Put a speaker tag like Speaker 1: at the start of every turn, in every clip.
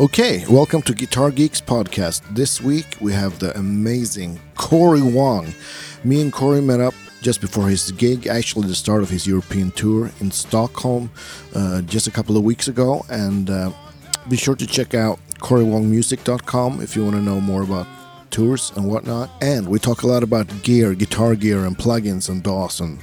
Speaker 1: Okay, welcome to Guitar Geeks Podcast. This week we have the amazing Corey Wong. Me and Corey met up just before his gig, actually, the start of his European tour in Stockholm uh, just a couple of weeks ago. And uh, be sure to check out CoreyWongMusic.com if you want to know more about tours and whatnot. And we talk a lot about gear, guitar gear, and plugins and DAWs and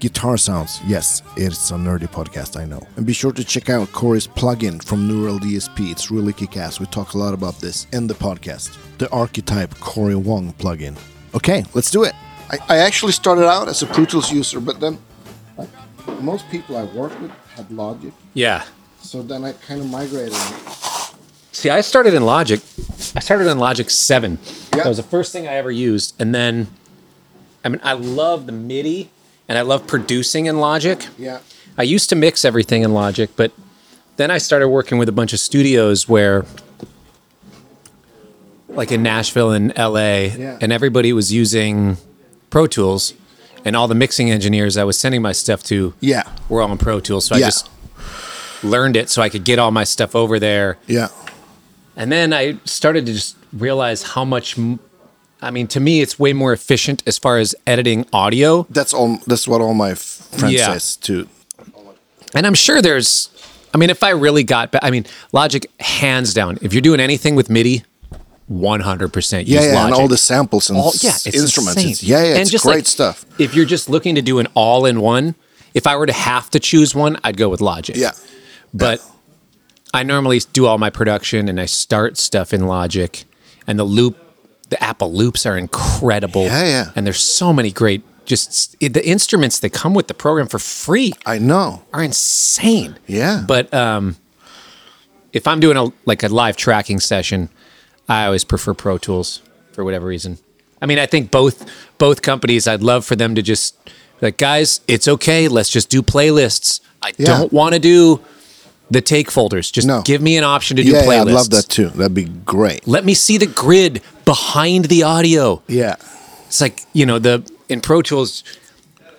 Speaker 1: guitar sounds. Yes, it's a nerdy podcast, I know. And be sure to check out Corey's plugin from Neural DSP. It's really kick ass. We talk a lot about this in the podcast. The archetype Corey Wong plugin. Okay, let's do it. I, I actually started out as a Pro Tools user, but then like, most people I worked with had Logic.
Speaker 2: Yeah.
Speaker 1: So then I kind of migrated.
Speaker 2: See, I started in Logic. I started in Logic 7. That was the first thing I ever used. And then, I mean, I love the MIDI and I love producing in Logic.
Speaker 1: Yeah.
Speaker 2: I used to mix everything in Logic, but then I started working with a bunch of studios where, like in Nashville and LA,
Speaker 1: Yeah.
Speaker 2: and everybody was using Pro Tools, and all the mixing engineers I was sending my stuff to
Speaker 1: Yeah.
Speaker 2: were all in Pro Tools. So
Speaker 1: Yeah.
Speaker 2: I just learned it so I could get all my stuff over there.
Speaker 1: Yeah.
Speaker 2: And then I started to just realize how much. m- I mean, to me, it's way more efficient as far as editing audio.
Speaker 1: That's all. That's what all my f- friends
Speaker 2: Yeah.
Speaker 1: says too.
Speaker 2: And I'm sure there's. I mean, if I really got, ba- I mean, Logic hands down. If you're doing anything with MIDI, 100 percent use
Speaker 1: Yeah, yeah,
Speaker 2: Logic.
Speaker 1: and all the samples and
Speaker 2: All-
Speaker 1: s-
Speaker 2: yeah, it's
Speaker 1: instruments.
Speaker 2: insane.
Speaker 1: It's, yeah, yeah,
Speaker 2: And
Speaker 1: it's
Speaker 2: just,
Speaker 1: great
Speaker 2: like,
Speaker 1: stuff.
Speaker 2: If you're just looking to do an all-in-one, if I were to have to choose one, I'd go with Logic.
Speaker 1: Yeah,
Speaker 2: but I normally do all my production and I start stuff in Logic, and the loop, the Apple loops are incredible.
Speaker 1: Yeah, yeah.
Speaker 2: And there's so many great just it, the instruments that come with the program for free
Speaker 1: I know.
Speaker 2: are insane.
Speaker 1: Yeah.
Speaker 2: But um, if I'm doing a like a live tracking session, I always prefer Pro Tools for whatever reason. I mean, I think both both companies. I'd love for them to just like, guys, it's okay. Let's just do playlists. I
Speaker 1: Yeah.
Speaker 2: don't want to do the take folders. Just
Speaker 1: No.
Speaker 2: give me an option to do
Speaker 1: yeah,
Speaker 2: playlists.
Speaker 1: yeah, I'd love that too. That'd be great.
Speaker 2: Let me see the grid behind the audio
Speaker 1: Yeah,
Speaker 2: it's like you know the in pro tools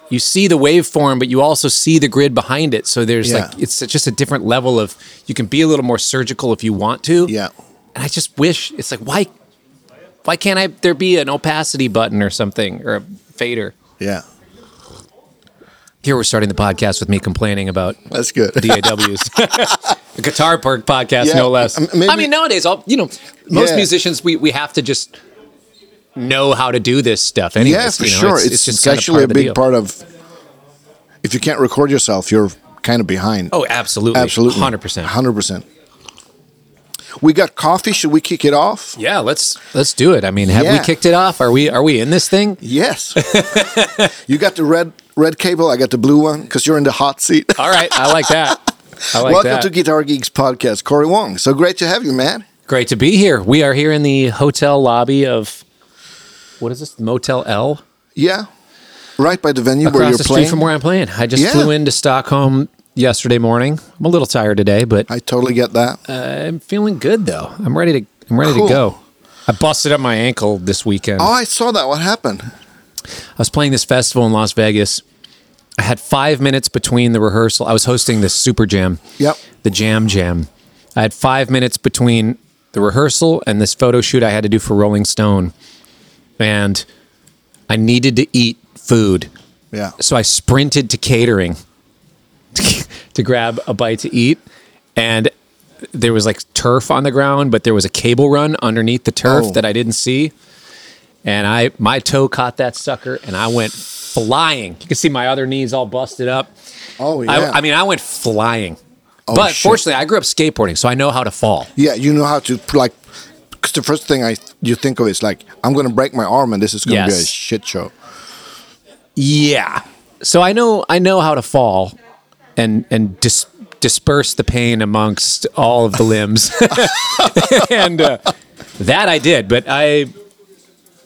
Speaker 2: you see the waveform but you also see the grid behind it so there's
Speaker 1: Yeah.
Speaker 2: like it's just a different level of you can be a little more surgical if you want to
Speaker 1: yeah,
Speaker 2: and i just wish it's like why why can't i there be an opacity button or something or a fader
Speaker 1: yeah.
Speaker 2: here we're starting the podcast with me complaining about
Speaker 1: That's good.
Speaker 2: DAWs. a guitar perk podcast,
Speaker 1: Yeah,
Speaker 2: no less.
Speaker 1: m- maybe-
Speaker 2: I mean, nowadays, all you know, most
Speaker 1: Yeah.
Speaker 2: musicians we, we have to just know how to do this stuff. Anyways,
Speaker 1: yeah, for
Speaker 2: you know,
Speaker 1: sure. It's, it's
Speaker 2: kinda
Speaker 1: actually a
Speaker 2: of the
Speaker 1: big
Speaker 2: deal.
Speaker 1: part of. If you can't record yourself, you're kind of behind.
Speaker 2: Oh, absolutely,
Speaker 1: absolutely,
Speaker 2: hundred percent.
Speaker 1: hundred percent. We got coffee. Should we kick it off?
Speaker 2: Yeah, let's let's do it. I mean, have we
Speaker 1: Yeah.
Speaker 2: kicked it off? Are we are we in this thing?
Speaker 1: Yes. you got the red red cable. I got the blue one because you're in the hot seat.
Speaker 2: All right, I like that. I like
Speaker 1: Welcome
Speaker 2: that.
Speaker 1: to Guitar Geeks Podcast, Corey Wong. So great to have you, man.
Speaker 2: Great to be here. We are here in the hotel lobby of what is this Motel L?
Speaker 1: Yeah, right by the venue where
Speaker 2: across
Speaker 1: you're
Speaker 2: the
Speaker 1: playing.
Speaker 2: street from where I'm playing. I just
Speaker 1: Yeah.
Speaker 2: flew into Stockholm yesterday morning. I'm a little tired today, but
Speaker 1: I totally get that.
Speaker 2: I'm feeling good though. I'm ready to I'm ready
Speaker 1: Cool.
Speaker 2: to go. I busted up my ankle this weekend.
Speaker 1: oh, I saw that. What happened?
Speaker 2: I was playing this festival in Las Vegas. I had five minutes between the rehearsal. I was hosting this super jam.
Speaker 1: Yep.
Speaker 2: The jam jam. I had five minutes between the rehearsal and this photo shoot I had to do for Rolling Stone. And I needed to eat food.
Speaker 1: Yeah.
Speaker 2: So I sprinted to catering to grab a bite to eat. And there was like turf on the ground, but there was a cable run underneath the turf
Speaker 1: Oh.
Speaker 2: that I didn't see. And I my toe caught that sucker and I went flying. You can see my other knees all busted up.
Speaker 1: Oh, yeah. Oh,
Speaker 2: I, I mean, I went flying. but
Speaker 1: shit.
Speaker 2: fortunately, I grew up skateboarding, so I know how to fall.
Speaker 1: yeah, you know how to like. Because the first thing I you think of is like, I'm gonna break my arm and this is gonna be a
Speaker 2: Yes.
Speaker 1: shit show.
Speaker 2: Yeah. So I know I know how to fall and and dis- disperse the pain amongst all of the limbs. and uh, that I did, but I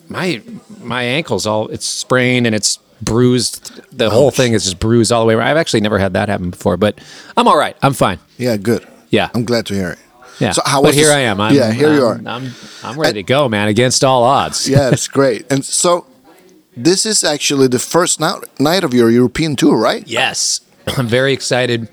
Speaker 2: my my ankle's all it's sprained and it's bruised. The whole thing is just bruised all the way around. I've actually never had that happen before, but I'm all right. I'm fine.
Speaker 1: Yeah, good.
Speaker 2: Yeah.
Speaker 1: I'm glad to hear it.
Speaker 2: Yeah.
Speaker 1: So how
Speaker 2: but
Speaker 1: was
Speaker 2: here
Speaker 1: this-
Speaker 2: I am. I'm,
Speaker 1: yeah, here you
Speaker 2: I'm-
Speaker 1: are.
Speaker 2: I'm I'm ready to go, man, against all odds.
Speaker 1: yeah, it's great. And so, this is actually the first now- night of your European tour, right?
Speaker 2: Yes, I'm very excited.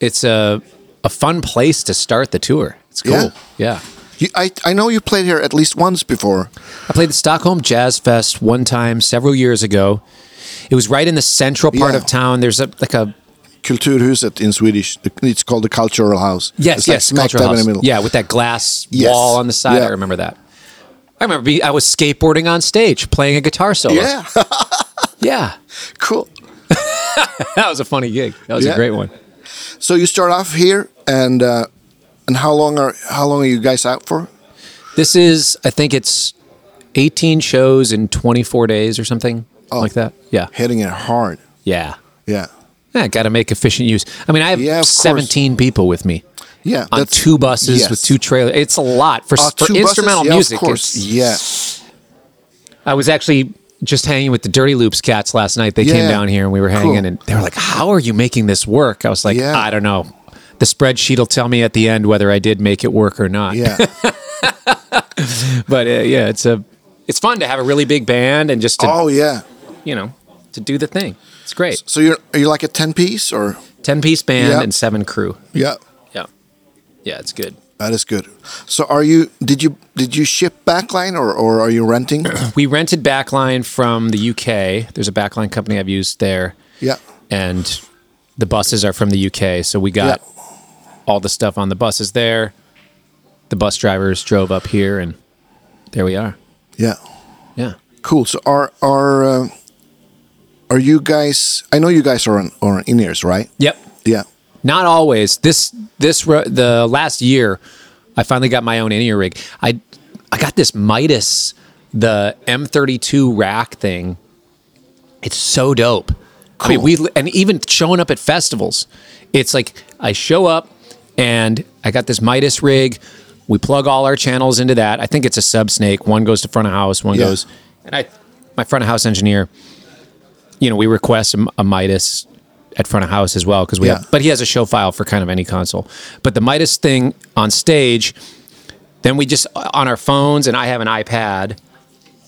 Speaker 2: It's a a fun place to start the tour. It's cool.
Speaker 1: Yeah.
Speaker 2: yeah.
Speaker 1: You, I, I know you played here at least once before.
Speaker 2: I played the Stockholm Jazz Fest one time several years ago. It was right in the central part
Speaker 1: Yeah.
Speaker 2: of town. There's a like a
Speaker 1: Kulturhuset in Swedish. The- It's called the Cultural House.
Speaker 2: yes,
Speaker 1: it's like
Speaker 2: yes,
Speaker 1: smack
Speaker 2: cultural
Speaker 1: dab in the
Speaker 2: house.
Speaker 1: middle.
Speaker 2: Yeah, with that glass
Speaker 1: Yes.
Speaker 2: wall on the side.
Speaker 1: Yeah.
Speaker 2: I remember that. I remember being, I was skateboarding on stage playing a guitar solo.
Speaker 1: Yeah.
Speaker 2: Yeah.
Speaker 1: cool.
Speaker 2: That was a funny gig. That was
Speaker 1: Yeah.
Speaker 2: a great one.
Speaker 1: So you start off here, and uh, and how long are how long are you guys out for?
Speaker 2: This is I think it's 18 shows in 24 days or something
Speaker 1: Oh.
Speaker 2: like that. Yeah.
Speaker 1: Hitting it hard.
Speaker 2: Yeah.
Speaker 1: Yeah.
Speaker 2: Yeah, got to make efficient use. I mean, I have
Speaker 1: Yeah, of course.
Speaker 2: 17 people with me.
Speaker 1: Yeah.
Speaker 2: on
Speaker 1: that's-
Speaker 2: two buses
Speaker 1: yes.
Speaker 2: with two trailers. It's a lot for,
Speaker 1: Uh,
Speaker 2: for
Speaker 1: two buses?
Speaker 2: instrumental
Speaker 1: Yeah,
Speaker 2: music.
Speaker 1: Of course.
Speaker 2: it's-
Speaker 1: Yeah.
Speaker 2: I was actually just hanging with the Dirty Loops cats last night. They
Speaker 1: Yeah.
Speaker 2: came down here and we were hanging,
Speaker 1: Cool.
Speaker 2: and they were like, "How are you making this work?" I was like,
Speaker 1: Yeah.
Speaker 2: "I don't know. The spreadsheet will tell me at the end whether I did make it work or not."
Speaker 1: Yeah.
Speaker 2: But uh, yeah, it's a it's fun to have a really big band and just to,
Speaker 1: oh yeah.
Speaker 2: you know to do the thing. It's great.
Speaker 1: So you're are you like a ten piece or?
Speaker 2: Ten piece band
Speaker 1: Yeah.
Speaker 2: and seven crew.
Speaker 1: Yeah.
Speaker 2: Yeah, yeah, it's good.
Speaker 1: That is good. So are you? Did you did you ship backline or or are you renting?
Speaker 2: We rented backline from the UK. There's a backline company I've used there.
Speaker 1: yeah.
Speaker 2: and the buses are from the UK. So we got all the stuff on the buses there. The bus drivers drove up here, and there we are.
Speaker 1: Yeah.
Speaker 2: Yeah.
Speaker 1: Cool. So are are uh, are you guys? I know you guys are on are in ears, right?
Speaker 2: Yep.
Speaker 1: Yeah.
Speaker 2: Not always. This this ro- the last year, I finally got my own in ear rig. I I got this Midas the M32 rack thing. It's so dope. I mean,
Speaker 1: Cool.
Speaker 2: we and even showing up at festivals, it's like I show up and I got this Midas rig. We plug all our channels into that. I think it's a sub snake. One goes to front of house, one
Speaker 1: Yeah.
Speaker 2: goes, and I, my front of house engineer, you know, we request a, a Midas at front of house as well because we
Speaker 1: Yeah.
Speaker 2: have, but he has a show file for kind of any console. But the Midas thing on stage, then we just uh, on our phones, and I have an iPad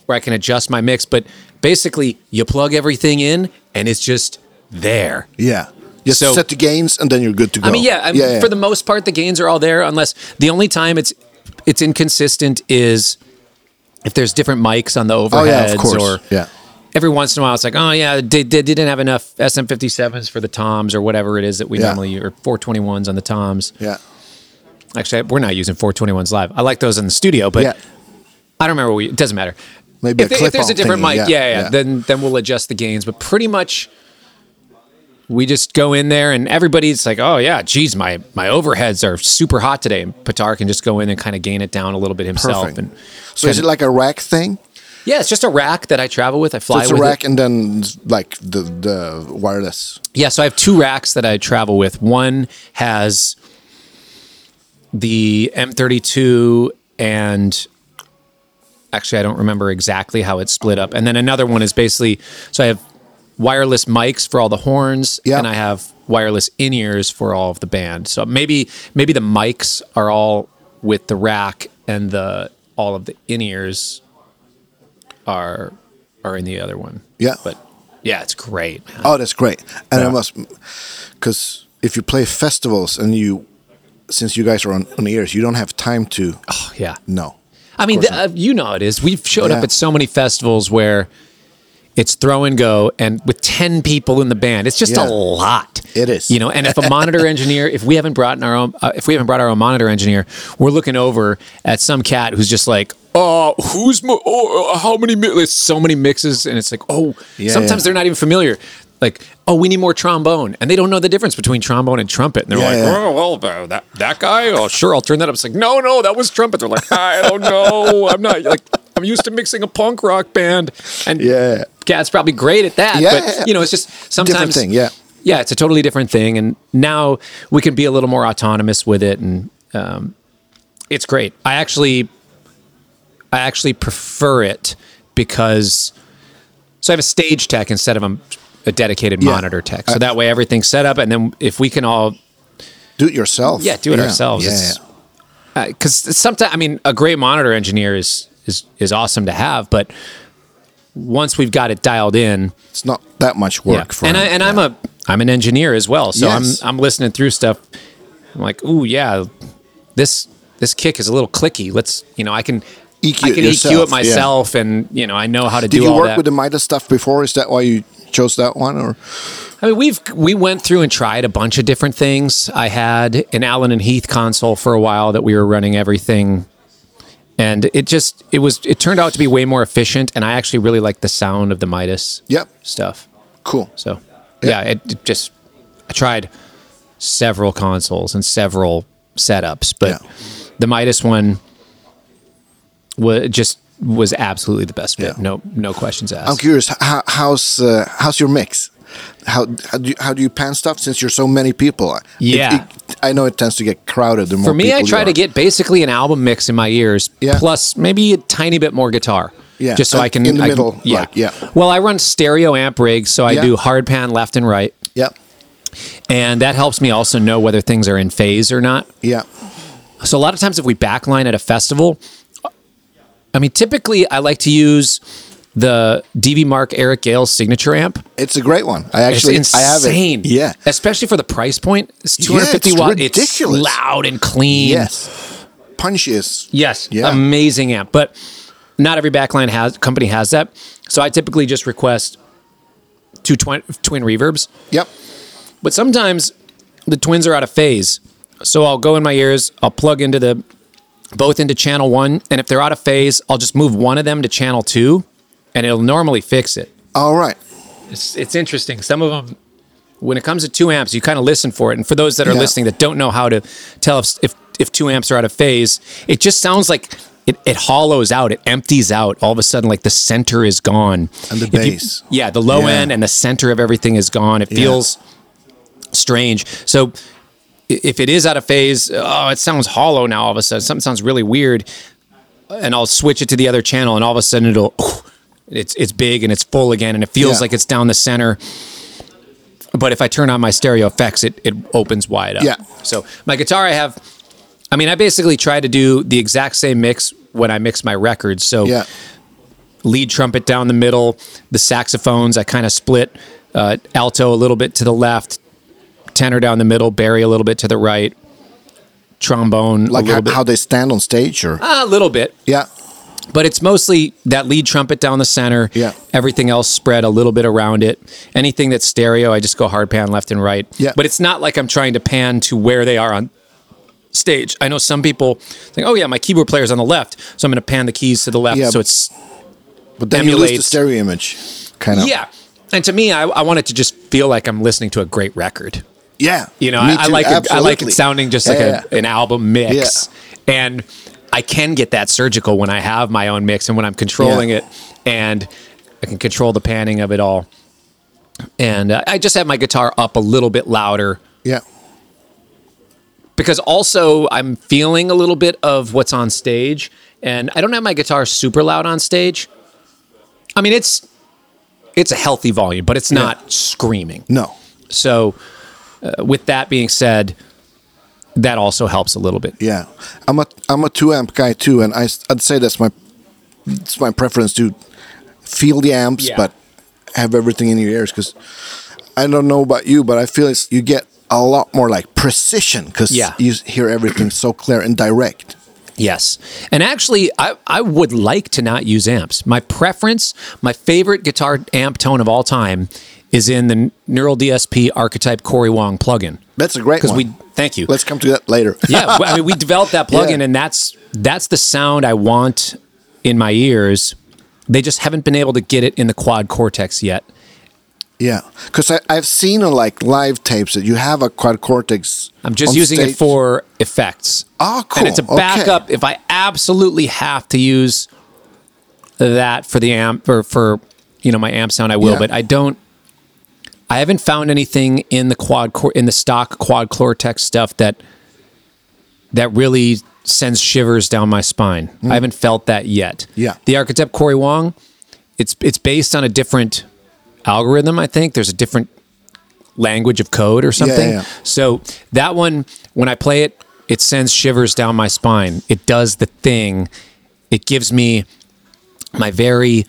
Speaker 2: where I can adjust my mix. But basically, you plug everything in, and it's just there.
Speaker 1: Yeah. Just
Speaker 2: So-
Speaker 1: set the gains and then you're good to go.
Speaker 2: I mean, yeah, I mean, for the most part, the gains are all there, unless the only time it's it's inconsistent is if there's different mics on the overheads
Speaker 1: oh yeah, of course.
Speaker 2: or
Speaker 1: yeah.
Speaker 2: every once in a while it's like, oh yeah, they, they didn't have enough SM57s for the toms or whatever it is that we
Speaker 1: Yeah.
Speaker 2: normally or 421s on the toms.
Speaker 1: Yeah.
Speaker 2: Actually, we're not using 421s live. I like those in the studio, but
Speaker 1: yeah.
Speaker 2: I don't remember. What we, it doesn't matter.
Speaker 1: Maybe
Speaker 2: if,
Speaker 1: a
Speaker 2: they- if there's a
Speaker 1: clip-on
Speaker 2: different
Speaker 1: thingy,
Speaker 2: mic,
Speaker 1: yeah,
Speaker 2: yeah, yeah,
Speaker 1: yeah.
Speaker 2: then then we'll adjust the gains. But pretty much, we just go in there and everybody's like, "Oh yeah, geez, my my overheads are super hot today." And Patar can just go in and kind of gain it down a little bit himself.
Speaker 1: Perfect.
Speaker 2: And
Speaker 1: So is it like a rack thing?
Speaker 2: yeah, it's just a rack that I travel with. I fly
Speaker 1: It's a
Speaker 2: with it.
Speaker 1: rack and then like the the wireless.
Speaker 2: Yeah, so I have two racks that I travel with. One has the M32 and actually I don't remember exactly how it's split up. And then another one is basically so I have wireless mics for all the horns
Speaker 1: Yeah.
Speaker 2: and I have wireless in-ears for all of the band. So maybe maybe the mics are all with the rack and the all of the in-ears are are in the other one.
Speaker 1: Yeah.
Speaker 2: But yeah, it's great, man.
Speaker 1: Oh, that's great. And I
Speaker 2: Yeah.
Speaker 1: must, because if you play festivals and you, since you guys are on, on ears, you don't have time to.
Speaker 2: Yeah.
Speaker 1: No.
Speaker 2: I mean, th- uh, you know how it is. We've showed
Speaker 1: Yeah.
Speaker 2: up at so many festivals where it's throw and go, and with ten people in the band, it's just
Speaker 1: Yeah.
Speaker 2: a lot.
Speaker 1: It is.
Speaker 2: you know. And if a monitor engineer, if we haven't brought in our own, uh, if we haven't brought our own monitor engineer, we're looking over at some cat who's just like, oh, who's mo- oh, uh, how many? Mi-? There's so many mixes, and it's like, oh,
Speaker 1: Yeah,
Speaker 2: sometimes
Speaker 1: yeah.
Speaker 2: they're not even familiar. Like, oh, we need more trombone, and they don't know the difference between trombone and trumpet, and they're
Speaker 1: Yeah,
Speaker 2: like,
Speaker 1: yeah.
Speaker 2: oh well, uh, that that guy. Oh sure, I'll turn that up. It's like no, no, that was trumpet. They're like, I don't know. I'm not like I'm used to mixing a punk rock band, and
Speaker 1: Yeah.
Speaker 2: Cat's probably great at that.
Speaker 1: Yeah, yeah, yeah.
Speaker 2: but you know, it's just sometimes
Speaker 1: thing, yeah.
Speaker 2: yeah, it's a totally different thing, and now we can be a little more autonomous with it, and um, it's great. I actually, I actually prefer it because so I have a stage tech instead of a, a dedicated
Speaker 1: Yeah.
Speaker 2: monitor tech, so that way everything's set up, and then if we can all
Speaker 1: Do it yourself.
Speaker 2: yeah, do it ourselves.
Speaker 1: Yeah.
Speaker 2: It's- because sometimes I mean a great monitor engineer is is is awesome to have, but once we've got it dialed in,
Speaker 1: It's not that much work
Speaker 2: yeah.
Speaker 1: for
Speaker 2: and I,
Speaker 1: him.
Speaker 2: and I'm a I'm an engineer as well, so
Speaker 1: Yes.
Speaker 2: I'm I'm listening through stuff. I'm like, ooh yeah, this this kick is a little clicky. Let's you know I can
Speaker 1: EQ
Speaker 2: I
Speaker 1: E it
Speaker 2: can EQ
Speaker 1: yourself,
Speaker 2: it
Speaker 1: yeah.
Speaker 2: myself, and you know I know how to
Speaker 1: Did
Speaker 2: do
Speaker 1: you
Speaker 2: all
Speaker 1: work
Speaker 2: that.
Speaker 1: with the Midas stuff before? Is that why you chose that one? Or
Speaker 2: I mean, we've we went through and tried a bunch of different things. I had an Allen and Heath console for a while that we were running everything, and it just it was it turned out to be way more efficient. And I actually really liked the sound of the Midas
Speaker 1: yep,
Speaker 2: stuff.
Speaker 1: cool.
Speaker 2: So
Speaker 1: Yeah.
Speaker 2: yeah, it, it just I tried several consoles and several setups, but
Speaker 1: Yeah.
Speaker 2: the Midas one was just was absolutely the best fit.
Speaker 1: Yeah.
Speaker 2: No no questions asked.
Speaker 1: I'm curious. h- How, how's uh, how's your mix? How how do you, how do you pan stuff since you're so many people? It-
Speaker 2: Yeah.
Speaker 1: it- I know it tends to get crowded. The more
Speaker 2: For me, I
Speaker 1: people you
Speaker 2: try to
Speaker 1: are.
Speaker 2: get basically an album mix in my ears,
Speaker 1: Yeah.
Speaker 2: plus maybe a tiny bit more guitar.
Speaker 1: Yeah,
Speaker 2: Just so
Speaker 1: uh,
Speaker 2: I can
Speaker 1: in the
Speaker 2: I can-
Speaker 1: middle, like, yeah.
Speaker 2: Well, I run stereo amp rigs, so I
Speaker 1: Yeah.
Speaker 2: do hard pan left and right,
Speaker 1: Yep.
Speaker 2: and that helps me also know whether things are in phase or not.
Speaker 1: Yeah.
Speaker 2: So a lot of times, if we backline at a festival, I mean, typically I like to use the DV Mark Eric Gale's signature amp.
Speaker 1: It's a great one. I
Speaker 2: It's
Speaker 1: actually I have
Speaker 2: insane.
Speaker 1: it. Yeah.
Speaker 2: Especially for the price point. It's
Speaker 1: Yeah, it's
Speaker 2: 250 watt. It's
Speaker 1: ridiculous.
Speaker 2: loud and clean.
Speaker 1: Yes. Punches.
Speaker 2: Yes.
Speaker 1: Yeah.
Speaker 2: Amazing amp. But not every backline has company has that. So I typically just request two twin, twin reverbs.
Speaker 1: Yep.
Speaker 2: But sometimes the twins are out of phase. So I'll go in my ears, I'll plug into the both into channel 1 and if they're out of phase, I'll just move one of them to channel 2 and it'll normally fix it.
Speaker 1: All right.
Speaker 2: It's it's interesting. Some of them when it comes to two amps, you kind of listen for it. And for those that are
Speaker 1: Yeah.
Speaker 2: listening that don't know how to tell if, if if two amps are out of phase, it just sounds like it, it hollows out, it empties out. All of a sudden, like the center is gone.
Speaker 1: And the
Speaker 2: If you-
Speaker 1: bass.
Speaker 2: yeah, the low
Speaker 1: Yeah.
Speaker 2: end and the center of everything is gone. It
Speaker 1: Yeah.
Speaker 2: feels strange. So i- if it is out of phase, oh, it sounds hollow now all of a sudden. Something sounds really weird. And I'll switch it to the other channel and all of a sudden it'll it's it's big and it's full again and it feels
Speaker 1: Yeah.
Speaker 2: like it's down the center. But if I turn on my stereo effects, it it opens wide up.
Speaker 1: Yeah.
Speaker 2: So my guitar I have I mean I basically try to do the exact same mix when I mix my records. So
Speaker 1: Yeah.
Speaker 2: lead trumpet down the middle, the saxophones I kind of split, uh, alto a little bit to the left, tenor down the middle, barry a little bit to the right, trombone
Speaker 1: Like
Speaker 2: a little
Speaker 1: how,
Speaker 2: bit,
Speaker 1: how they stand on stage or
Speaker 2: Ah, a little bit,
Speaker 1: yeah.
Speaker 2: but it's mostly that lead trumpet down the center.
Speaker 1: Yeah.
Speaker 2: everything else spread a little bit around it. Anything that's stereo, I just go hard pan left and right.
Speaker 1: Yeah.
Speaker 2: but it's not like I'm trying to pan to where they are on stage. I know some people think, oh yeah, my keyboard player's on the left, so I'm going to pan the keys to the left,
Speaker 1: Yeah.
Speaker 2: so it's
Speaker 1: But then you lose the
Speaker 2: Emulates.
Speaker 1: stereo image. Kind of.
Speaker 2: Yeah. And to me, I, I want it to just feel like I'm listening to a great record.
Speaker 1: Yeah.
Speaker 2: You know,
Speaker 1: Me
Speaker 2: I, I
Speaker 1: too,
Speaker 2: like it, I like
Speaker 1: absolutely.
Speaker 2: it sounding just like
Speaker 1: Yeah,
Speaker 2: a,
Speaker 1: yeah.
Speaker 2: an album mix. And I can get that surgical when I have my own mix and when I'm controlling
Speaker 1: Yeah.
Speaker 2: it and I can control the panning of it all. And uh, I just have my guitar up a little bit louder
Speaker 1: Yeah.
Speaker 2: because also I'm feeling a little bit of what's on stage, and I don't have my guitar super loud on stage. I mean, it's it's a healthy volume, but it's not screaming.
Speaker 1: No.
Speaker 2: So, uh, with that being said, that also helps a little bit.
Speaker 1: Yeah, I'm a I'm a two amp guy too, and I would say that's my it's my preference to feel the amps,
Speaker 2: Yeah.
Speaker 1: but have everything in your ears because I don't know about you, but I feel it's you get a lot more like precision because
Speaker 2: Yeah.
Speaker 1: you hear everything so clear and direct.
Speaker 2: Yes. And actually, I, I would like to not use amps. My preference, my favorite guitar amp tone of all time is in the Neural DSP Archetype Corey Wong plugin.
Speaker 1: That's a great
Speaker 2: Because
Speaker 1: one.
Speaker 2: we, thank you.
Speaker 1: Let's come to that later.
Speaker 2: yeah, well, I mean, we developed that plugin,
Speaker 1: Yeah.
Speaker 2: and that's that's the sound I want in my ears. They just haven't been able to get it in the quad cortex yet.
Speaker 1: yeah, because I've seen on like live tapes that you have a quad cortex.
Speaker 2: I'm just
Speaker 1: on
Speaker 2: using
Speaker 1: stage.
Speaker 2: it for effects.
Speaker 1: Ah,
Speaker 2: And it's a
Speaker 1: cool. Okay.
Speaker 2: backup if I absolutely have to use that for the amp or for you know my amp sound. I will,
Speaker 1: Yeah.
Speaker 2: but I don't. I haven't found anything in the quad cor- in the stock quad cortex stuff that that really sends shivers down my spine. I haven't felt that yet.
Speaker 1: Mm. Yeah.
Speaker 2: The architect Corey Wong, it's it's based on a different algorithm, I think. There's a different language of code or something.
Speaker 1: yeah.
Speaker 2: So that one, when I play it, it sends shivers down my spine. It does the thing. It gives me my very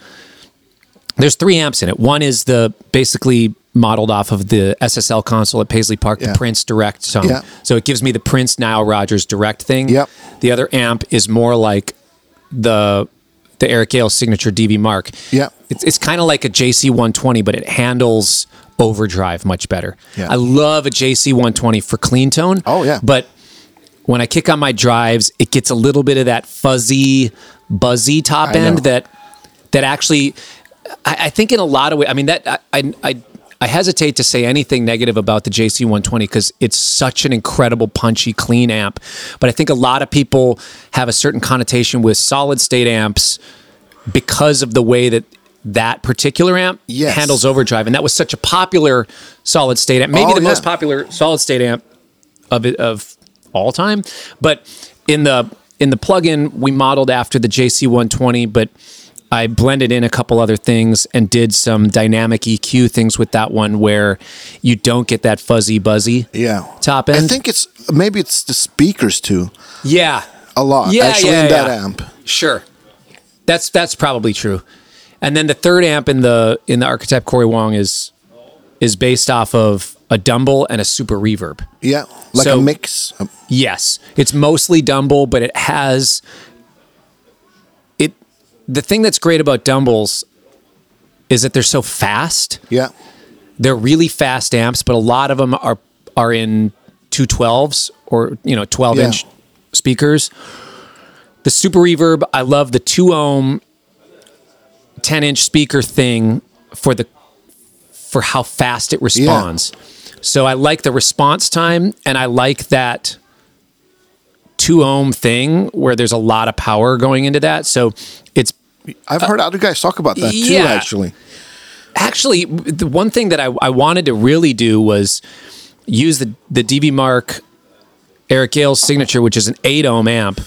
Speaker 2: there's three amps in it. One is the basically modeled off of the SSL console at Paisley Park,
Speaker 1: Yeah.
Speaker 2: the Prince Direct song.
Speaker 1: Yeah.
Speaker 2: So it gives me the Prince Nile Rogers Direct thing.
Speaker 1: Yep.
Speaker 2: The other amp is more like the the Eric Gale signature DV Mark.
Speaker 1: Yeah.
Speaker 2: It's, it's kind of like a JC120, but it handles overdrive much better.
Speaker 1: Yeah.
Speaker 2: I love a JC120 for clean tone.
Speaker 1: Oh, yeah.
Speaker 2: But when I kick on my drives, it gets a little bit of that fuzzy, buzzy top
Speaker 1: I know.
Speaker 2: end that that actually I, I think in a lot of ways I mean that I, I I I hesitate to say anything negative about the JC one twenty because it's such an incredible punchy clean amp. But I think a lot of people have a certain connotation with solid state amps because of the way that that particular amp
Speaker 1: Yes.
Speaker 2: handles overdrive. And that was such a popular solid state amp. Maybe
Speaker 1: Oh,
Speaker 2: the most
Speaker 1: yeah.
Speaker 2: popular solid state amp of it, of all time. But in the in the plugin, we modeled after the JC120, but I blended in a couple other things and did some dynamic EQ things with that one where you don't get that fuzzy buzzy
Speaker 1: Yeah.
Speaker 2: top end.
Speaker 1: I think it's maybe it's the speakers too
Speaker 2: yeah,
Speaker 1: a lot
Speaker 2: Yeah,
Speaker 1: actually
Speaker 2: yeah,
Speaker 1: in that
Speaker 2: yeah.
Speaker 1: amp.
Speaker 2: sure. That's that's probably true. And then the third amp in the in the archetype Corey Wong is is based off of a Dumble and a super reverb.
Speaker 1: Yeah, like
Speaker 2: So-
Speaker 1: a mix. Um,
Speaker 2: Yes, it's mostly Dumble, but it has it. The thing that's great about Dumbles is that they're so fast.
Speaker 1: Yeah.
Speaker 2: They're really fast amps, but a lot of them are are in two twelves or you know twelve inch
Speaker 1: Yeah.
Speaker 2: speakers. The Super Reverb, I love the two ohm, ten inch speaker thing for the for how fast it responds. So I like the response time, and I like that two ohm thing where there's a lot of power going into that. So it's
Speaker 1: I've heard other guys talk about that
Speaker 2: Uh, yeah.
Speaker 1: too actually.
Speaker 2: actually the one thing that I, I wanted to really do was use the the DB Mark Eric Gale's signature, which is an eight ohm amp,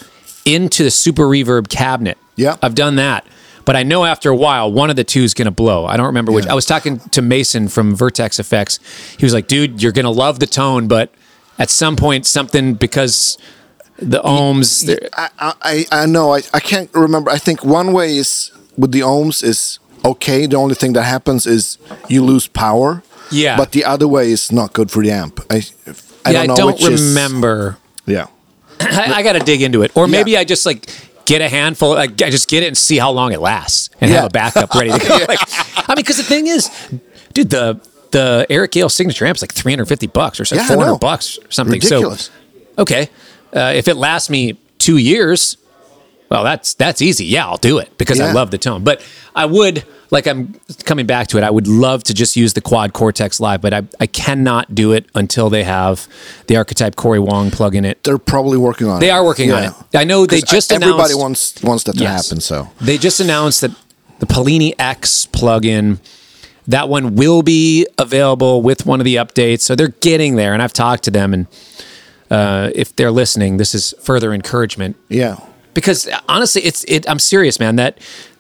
Speaker 2: into the super reverb cabinet.
Speaker 1: Yeah.
Speaker 2: I've done that. But I know after a while, one of the two is going to blow. I don't remember which.
Speaker 1: Yeah.
Speaker 2: I was talking to Mason from Vertex Effects. He was like, dude, you're going to love the tone, but at some point, something because the ohms, they're-
Speaker 1: I, I, I I know. I, I can't remember. I think one way is with the ohms is okay. The only thing that happens is you lose power.
Speaker 2: Yeah.
Speaker 1: But the other way is not good for the amp. I, I don't
Speaker 2: yeah,
Speaker 1: know
Speaker 2: I don't
Speaker 1: which is-
Speaker 2: remember.
Speaker 1: yeah.
Speaker 2: I, I got to dig into it, or
Speaker 1: Yeah.
Speaker 2: maybe I just like get a handful. Like, I just get it and see how long it lasts, and
Speaker 1: Yeah.
Speaker 2: have a backup ready to go. Like, I mean, because the thing is, dude, the the Eric Gale signature amp's like three hundred fifty bucks or
Speaker 1: Yeah, I know.
Speaker 2: something, four hundred bucks or something.
Speaker 1: Ridiculous.
Speaker 2: So, okay, uh, if it lasts me two years, well, that's that's easy. Yeah, I'll do it because
Speaker 1: Yeah.
Speaker 2: I love the tone. But I would like I'm coming back to it. I would love to just use the quad cortex live, but I, I cannot do it until they have the archetype Corey Wong plug in it.
Speaker 1: They're probably working on it.
Speaker 2: They are working on
Speaker 1: Yeah.
Speaker 2: it. I know they
Speaker 1: 'Cause
Speaker 2: just announced.
Speaker 1: everybody wants wants that to
Speaker 2: Yes.
Speaker 1: happen. So
Speaker 2: They just announced that the Polini X plugin, that one will be available with one of the updates. So they're getting there, and I've talked to them, and uh, if they're listening, this is further encouragement
Speaker 1: yeah,
Speaker 2: because honestly, it's it. I'm serious, man. That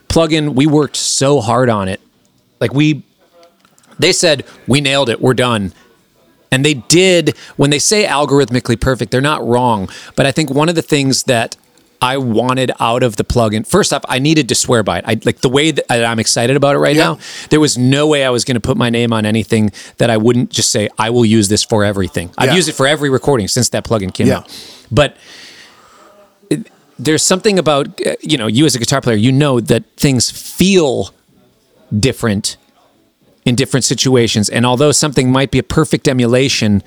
Speaker 2: plugin, we worked so hard on it. Like we, they said we nailed it. We're done. And they did. When they say algorithmically perfect, they're not wrong. But I think one of the things that I wanted out of the plugin, first off, I needed to swear by it. I like the way that I'm excited about it right
Speaker 1: Yeah.
Speaker 2: now. There was no way I was going to put my name on anything that I wouldn't just say I will use this for everything. I've
Speaker 1: Yeah.
Speaker 2: used it for every recording since that plugin came
Speaker 1: Yeah.
Speaker 2: out. But there's something about uh, you know you as a guitar player you know that things feel different in different situations and although something might be a perfect emulation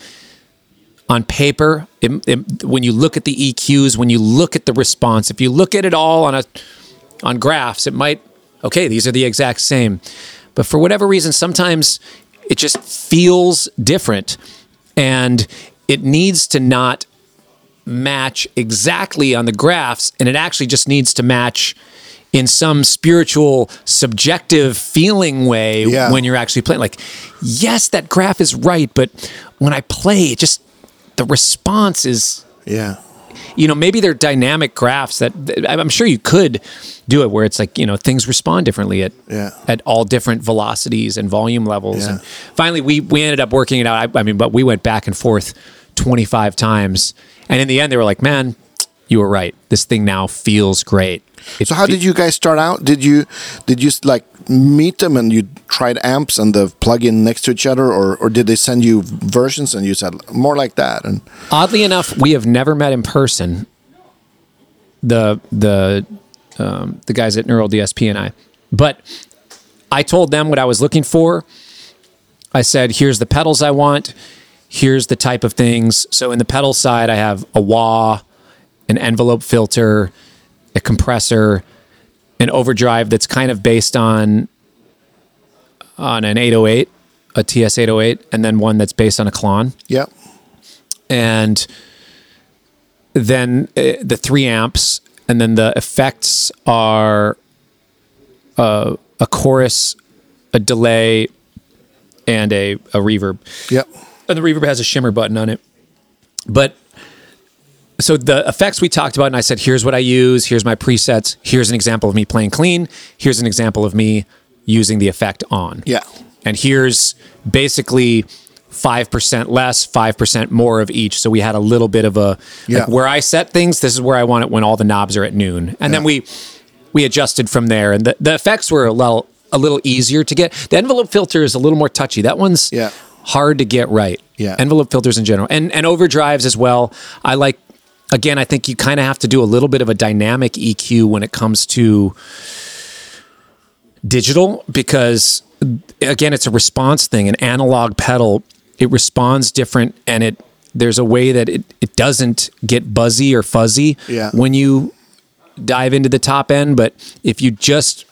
Speaker 2: on paper it, it- when you look at the eqs when you look at the response if you look at it all on a on graphs it might okay these are the exact same but for whatever reason sometimes it just feels different and it needs to not match exactly on the graphs, and it actually just needs to match in some spiritual, subjective feeling way
Speaker 1: Yeah.
Speaker 2: when you're actually playing. Like, yes, that graph is right, but when I play, it just the response is
Speaker 1: yeah,
Speaker 2: you know maybe they're dynamic graphs that that- I'm sure you could do it where it's like you know things respond differently at
Speaker 1: Yeah.
Speaker 2: at all different velocities and volume levels.
Speaker 1: Yeah.
Speaker 2: And finally, we we ended up working it out. I, I mean, but we went back and forth 25 times, and in the end, they were like, "Man, you were right. This thing now feels great." It
Speaker 1: So how
Speaker 2: fe-
Speaker 1: did you guys start out? Did you did you like meet them and you tried amps and the plug-in next to each other, or or did they send you versions and you said more like that? And
Speaker 2: Oddly enough, we have never met in person. The the um, the guys at Neural DSP and I, but I told them what I was looking for. I said, "Here's the pedals I want. Here's the type of things." So in the pedal side, I have a wah, an envelope filter, a compressor, an overdrive that's kind of based on on an 808, a TS 808, and then one that's based on a Klon
Speaker 1: yeah,
Speaker 2: and then uh, the three amps, and then the effects are uh, a chorus, a delay, and a, a reverb.
Speaker 1: yeah,
Speaker 2: And the reverb has a shimmer button on it. But so the effects we talked about, and I said, here's what I use, here's my presets, here's an example of me playing clean, here's an example of me using the effect on
Speaker 1: yeah,
Speaker 2: and here's basically 5% less 5% more of each so we had a little bit of a
Speaker 1: Yeah.
Speaker 2: like where i set things this is where i want it when all the knobs are at noon and then we we adjusted from there and the, the effects were a little a little easier to get the envelope filter is a little more touchy that one's
Speaker 1: Yeah.
Speaker 2: hard to get right
Speaker 1: Yeah.
Speaker 2: envelope filters in general and and overdrives as well i like again i think you kind of have to do a little bit of a dynamic eq when it comes to digital because again it's a response thing an analog pedal it responds different and it there's a way that it, it doesn't get buzzy or fuzzy
Speaker 1: Yeah.
Speaker 2: when you dive into the top end but if you just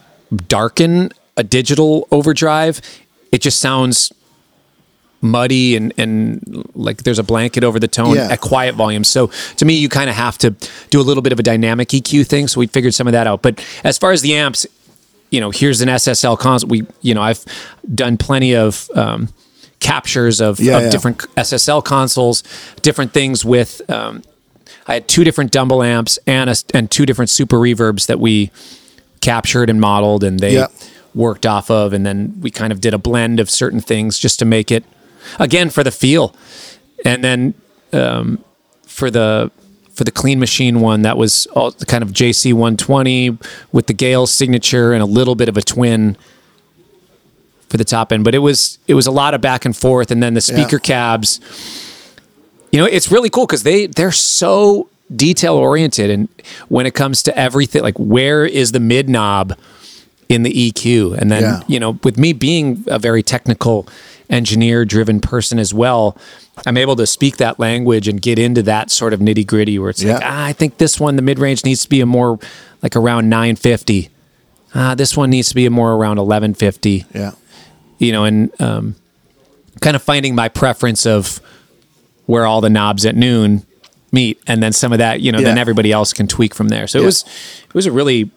Speaker 2: darken a digital overdrive it just sounds muddy and and like there's a blanket over the tone
Speaker 1: Yeah.
Speaker 2: at quiet volume. So to me, you kind of have to do a little bit of a dynamic EQ thing. So we figured some of that out. But as far as the amps, you know, here's an SSL console. We you know I've done plenty of um, captures of,
Speaker 1: Yeah,
Speaker 2: of
Speaker 1: yeah.
Speaker 2: different SSL consoles, different things with. Um, I had two different Dumble amps and a, and two different super reverbs that we captured and modeled, and they
Speaker 1: Yeah.
Speaker 2: worked off of, and then we kind of did a blend of certain things just to make it again for the feel, and then um, for the for the clean machine one that was all the kind of JC 120 with the Gale signature and a little bit of a twin for the top end, but it was it was a lot of back and forth, and then the speaker cabs. You know, it's really cool because they they're so detail oriented, and when it comes to everything, like where is the mid knob in the EQ, and then
Speaker 1: Yeah.
Speaker 2: you know, with me being a very technical engineer driven person as well, I'm able to speak that language and get into that sort of nitty gritty where it's like,
Speaker 1: Yeah.
Speaker 2: ah, I think this one the mid range needs to be a more like around 950. Ah, this one needs to be a more around 1150
Speaker 1: yeah,
Speaker 2: you know, and um, kind of finding my preference of where all the knobs at noon meet, and then some of that, you know, then
Speaker 1: Yeah.
Speaker 2: everybody else can tweak from there. So it
Speaker 1: Yeah.
Speaker 2: was, it was a really,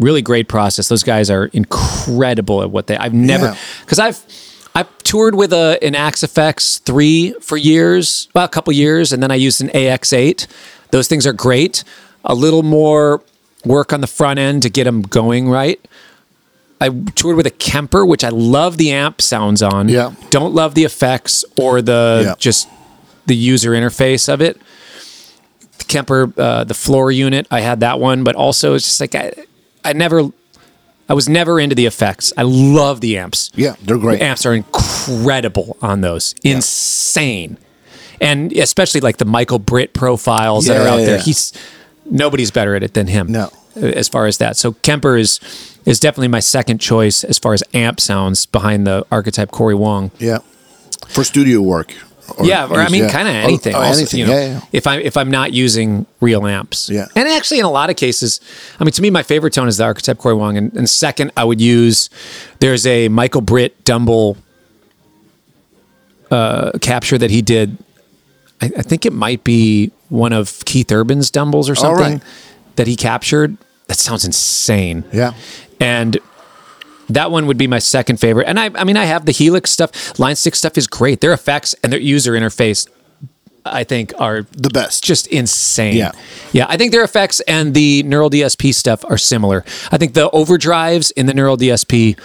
Speaker 2: really great process. Those guys are incredible at what they. I've never
Speaker 1: Yeah.
Speaker 2: because I've. I've toured with a an Axe FX three for years, well, a couple years, and then I used an AX eight. Those things are great. A little more work on the front end to get them going right. I toured with a Kemper, which I love the amp sounds on.
Speaker 1: Yeah.
Speaker 2: Don't love the effects or the
Speaker 1: Yeah.
Speaker 2: just the user interface of it. The Kemper, uh, the floor unit, I had that one, but also it's just like I, I never, I was never into the effects. I love the amps.
Speaker 1: yeah. They're great.
Speaker 2: The amps are incredible on those, insane, and especially like the Michael Britt profiles that
Speaker 1: Yeah,
Speaker 2: are out
Speaker 1: yeah,
Speaker 2: there.
Speaker 1: yeah.
Speaker 2: He's nobody's better at it than him. uh,
Speaker 1: No.
Speaker 2: as far as that. So Kemper is is definitely my second choice as far as amp sounds behind the archetype Corey Wong.
Speaker 1: Yeah, for studio work. Or
Speaker 2: yeah, or I
Speaker 1: use-
Speaker 2: mean,
Speaker 1: yeah.
Speaker 2: kind of
Speaker 1: Or-
Speaker 2: anything.
Speaker 1: or
Speaker 2: also,
Speaker 1: anything.
Speaker 2: you know,
Speaker 1: yeah, yeah.
Speaker 2: If I'm if I'm not using real amps.
Speaker 1: Yeah.
Speaker 2: And actually, in a lot of cases, I mean, to me, my favorite tone is the Archetype Corey Wong, and, and second, I would use there's a Michael Britt Dumble uh, capture that he did. I, I think it might be one of Keith Urban's Dumbles or
Speaker 1: All right.
Speaker 2: something that he captured. That sounds insane
Speaker 1: Yeah.
Speaker 2: and that one would be my second favorite. And I, I mean, I have the Helix stuff. Line Six stuff is great. Their effects and their user interface, I think, are
Speaker 1: The best.
Speaker 2: just insane.
Speaker 1: Yeah.
Speaker 2: yeah. I think their effects and the Neural DSP stuff are similar. I think the overdrives in the Neural DSP,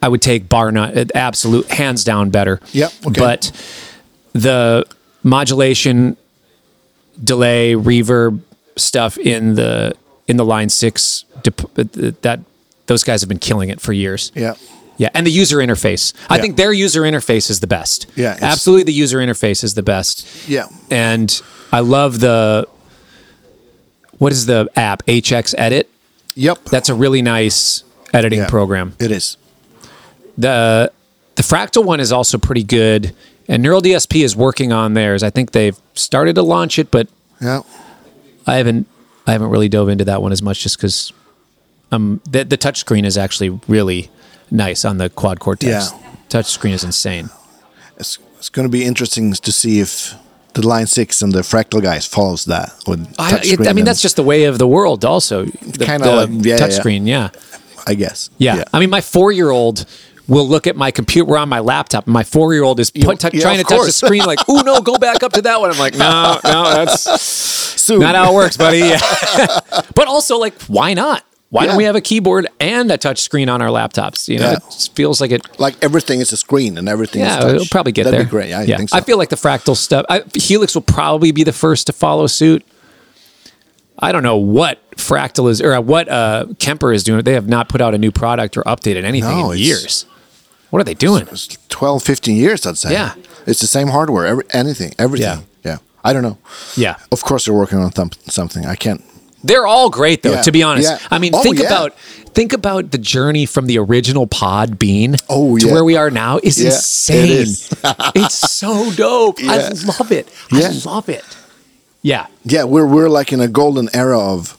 Speaker 2: I would take bar not absolute hands down better.
Speaker 1: Yep, okay.
Speaker 2: But the modulation, delay, reverb stuff in the in the Line Six. Dep- that those guys have been killing it for years.
Speaker 1: Yeah.
Speaker 2: Yeah, and the user interface. I
Speaker 1: Yeah.
Speaker 2: think their user interface is the best.
Speaker 1: Yeah, it's-
Speaker 2: absolutely. The user interface is the best,
Speaker 1: Yeah.
Speaker 2: and I love the what is the app HX Edit.
Speaker 1: Yep.
Speaker 2: That's a really nice editing
Speaker 1: Yeah.
Speaker 2: program.
Speaker 1: it is.
Speaker 2: the The Fractal one is also pretty good, and Neural DSP is working on theirs. I think they've started to launch it, but
Speaker 1: Yeah.
Speaker 2: I haven't I haven't really dove into that one as much just because um the the touchscreen is actually really nice on the quad cortex.
Speaker 1: Yeah.
Speaker 2: Touchscreen is insane.
Speaker 1: It's, it's going to be interesting to see if the Line 6 and the Fractal guys follows that. With
Speaker 2: I, it-
Speaker 1: touchscreen
Speaker 2: I mean,
Speaker 1: and-
Speaker 2: that's just the way of the world. Also, the,
Speaker 1: Kinda
Speaker 2: the
Speaker 1: like- yeah, yeah, yeah.
Speaker 2: touchscreen. Yeah.
Speaker 1: I guess.
Speaker 2: yeah, I mean, my four year old will look at my computer we're on my laptop. And my four year old is put,
Speaker 1: yeah,
Speaker 2: trying to
Speaker 1: of
Speaker 2: touch the
Speaker 1: course.
Speaker 2: screen. Like, oh no, go back up to that one. I'm like, no, no, that's
Speaker 1: Soon.
Speaker 2: not how it works, buddy. Yeah. but also, like, why not? Why
Speaker 1: Yeah.
Speaker 2: don't we have a keyboard and a touch screen on our laptops? You know,
Speaker 1: Yeah.
Speaker 2: it just feels like it
Speaker 1: like everything is a screen and everything is
Speaker 2: Yeah,
Speaker 1: touch.
Speaker 2: it'll probably get
Speaker 1: That'd
Speaker 2: there.
Speaker 1: be great. I think so.
Speaker 2: I feel like the fractal stuff. I, Helix will probably be the first to follow suit. I don't know what fractal is or what uh, Kemper is doing. They have not put out a new product or updated anything
Speaker 1: No,
Speaker 2: in
Speaker 1: it's-
Speaker 2: years. What are they doing?
Speaker 1: It's 12, 15 years, I'd say.
Speaker 2: Yeah.
Speaker 1: It's the same hardware, every, anything, everything. Yeah.
Speaker 2: Yeah.
Speaker 1: I don't know.
Speaker 2: Yeah,
Speaker 1: Of course, they're working on thump something. I can't.
Speaker 2: they're all great though.
Speaker 1: Yeah.
Speaker 2: To be honest,
Speaker 1: Yeah.
Speaker 2: I mean,
Speaker 1: Oh,
Speaker 2: think
Speaker 1: yeah.
Speaker 2: about think about the journey from the original Pod Bean
Speaker 1: Oh,
Speaker 2: to
Speaker 1: yeah.
Speaker 2: where we are now is
Speaker 1: Yeah, it
Speaker 2: insane.
Speaker 1: is.
Speaker 2: it's so dope. I
Speaker 1: Yeah.
Speaker 2: love it.
Speaker 1: Yeah.
Speaker 2: I love it. Yeah,
Speaker 1: Yeah, we're, we're like in a golden era of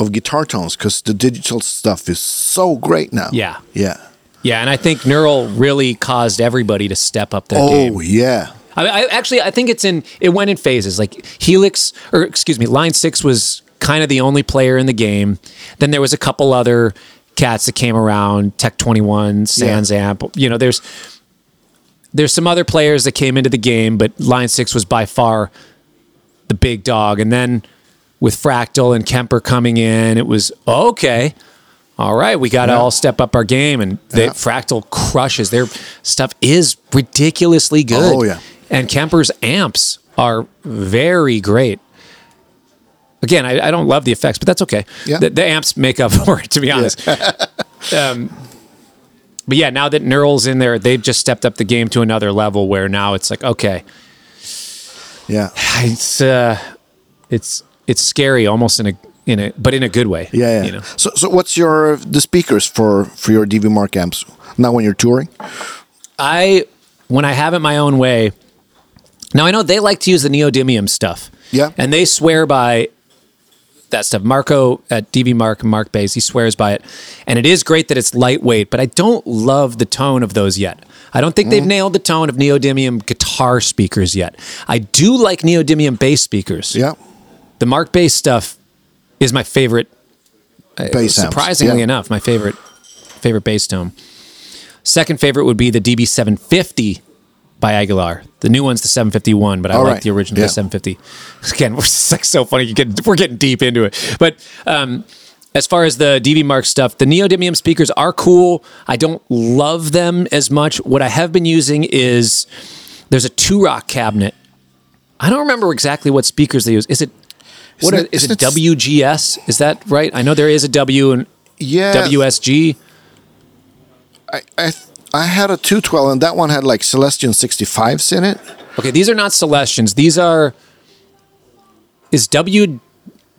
Speaker 1: of guitar tones because the digital stuff is so great now.
Speaker 2: Yeah.
Speaker 1: Yeah.
Speaker 2: Yeah, and I think Neural really caused everybody to step up their game.
Speaker 1: Oh, yeah.
Speaker 2: I, I actually I think it's in it went in phases. Like Helix, or excuse me, Line Six was kind of the only player in the game. Then there was a couple other cats that came around, Tech Twenty One, Sans Amp. You know, there's there's some other players that came into the game, but Line Six was by far the big dog. And then with Fractal and Kemper coming in, it was okay. All right, we got to all step up our game, and they,
Speaker 1: Yeah.
Speaker 2: Fractal crushes. Their stuff is ridiculously good.
Speaker 1: Oh, yeah.
Speaker 2: And Kemper's amps are very great. Again, I, I don't love the effects, but that's okay.
Speaker 1: Yeah.
Speaker 2: The, the amps make up for it, to be honest. um, but yeah, now that Neural's in there, they've just stepped up the game to another level where now it's like, okay,
Speaker 1: Yeah.
Speaker 2: it's uh, it's it's scary almost in a in a but in a good way.
Speaker 1: Yeah. yeah.
Speaker 2: You know?
Speaker 1: So, so what's your the speakers for for your DV Mark amps now when you're touring?
Speaker 2: I when I have it my own way. Now I know they like to use the neodymium stuff.
Speaker 1: Yeah.
Speaker 2: And they swear by that stuff. Marco at DV Mark Mark Bays, he swears by it. And it is great that it's lightweight, but I don't love the tone of those yet. I don't think
Speaker 1: Mm-hmm.
Speaker 2: they've nailed the tone of neodymium guitar speakers yet. I do like neodymium bass speakers.
Speaker 1: Yeah.
Speaker 2: The Mark Bass stuff is my favorite
Speaker 1: Bass amps.
Speaker 2: Uh, surprisingly
Speaker 1: Yeah.
Speaker 2: enough, my favorite favorite bass tone. Second favorite would be the DB750 by Aguilar. The new one's the 751, but I
Speaker 1: All
Speaker 2: like
Speaker 1: right.
Speaker 2: the original
Speaker 1: Yeah.
Speaker 2: 750. Again, we're it's like so funny. You get we're getting deep into it, but um, as far as the DB Mark stuff, the neodymium speakers are cool. I don't love them as much. What I have been using is there's a two rock cabinet. I don't remember exactly what speakers they use. Is it
Speaker 1: Isn't
Speaker 2: what are-
Speaker 1: it-
Speaker 2: is it,
Speaker 1: isn't it-
Speaker 2: WGS? Is that right? I know there is a W and
Speaker 1: Yeah.
Speaker 2: WSG.
Speaker 1: I, I I had a 212 and that one had like Celestion 65s in it.
Speaker 2: Okay, these are not Celestians. These are is WGS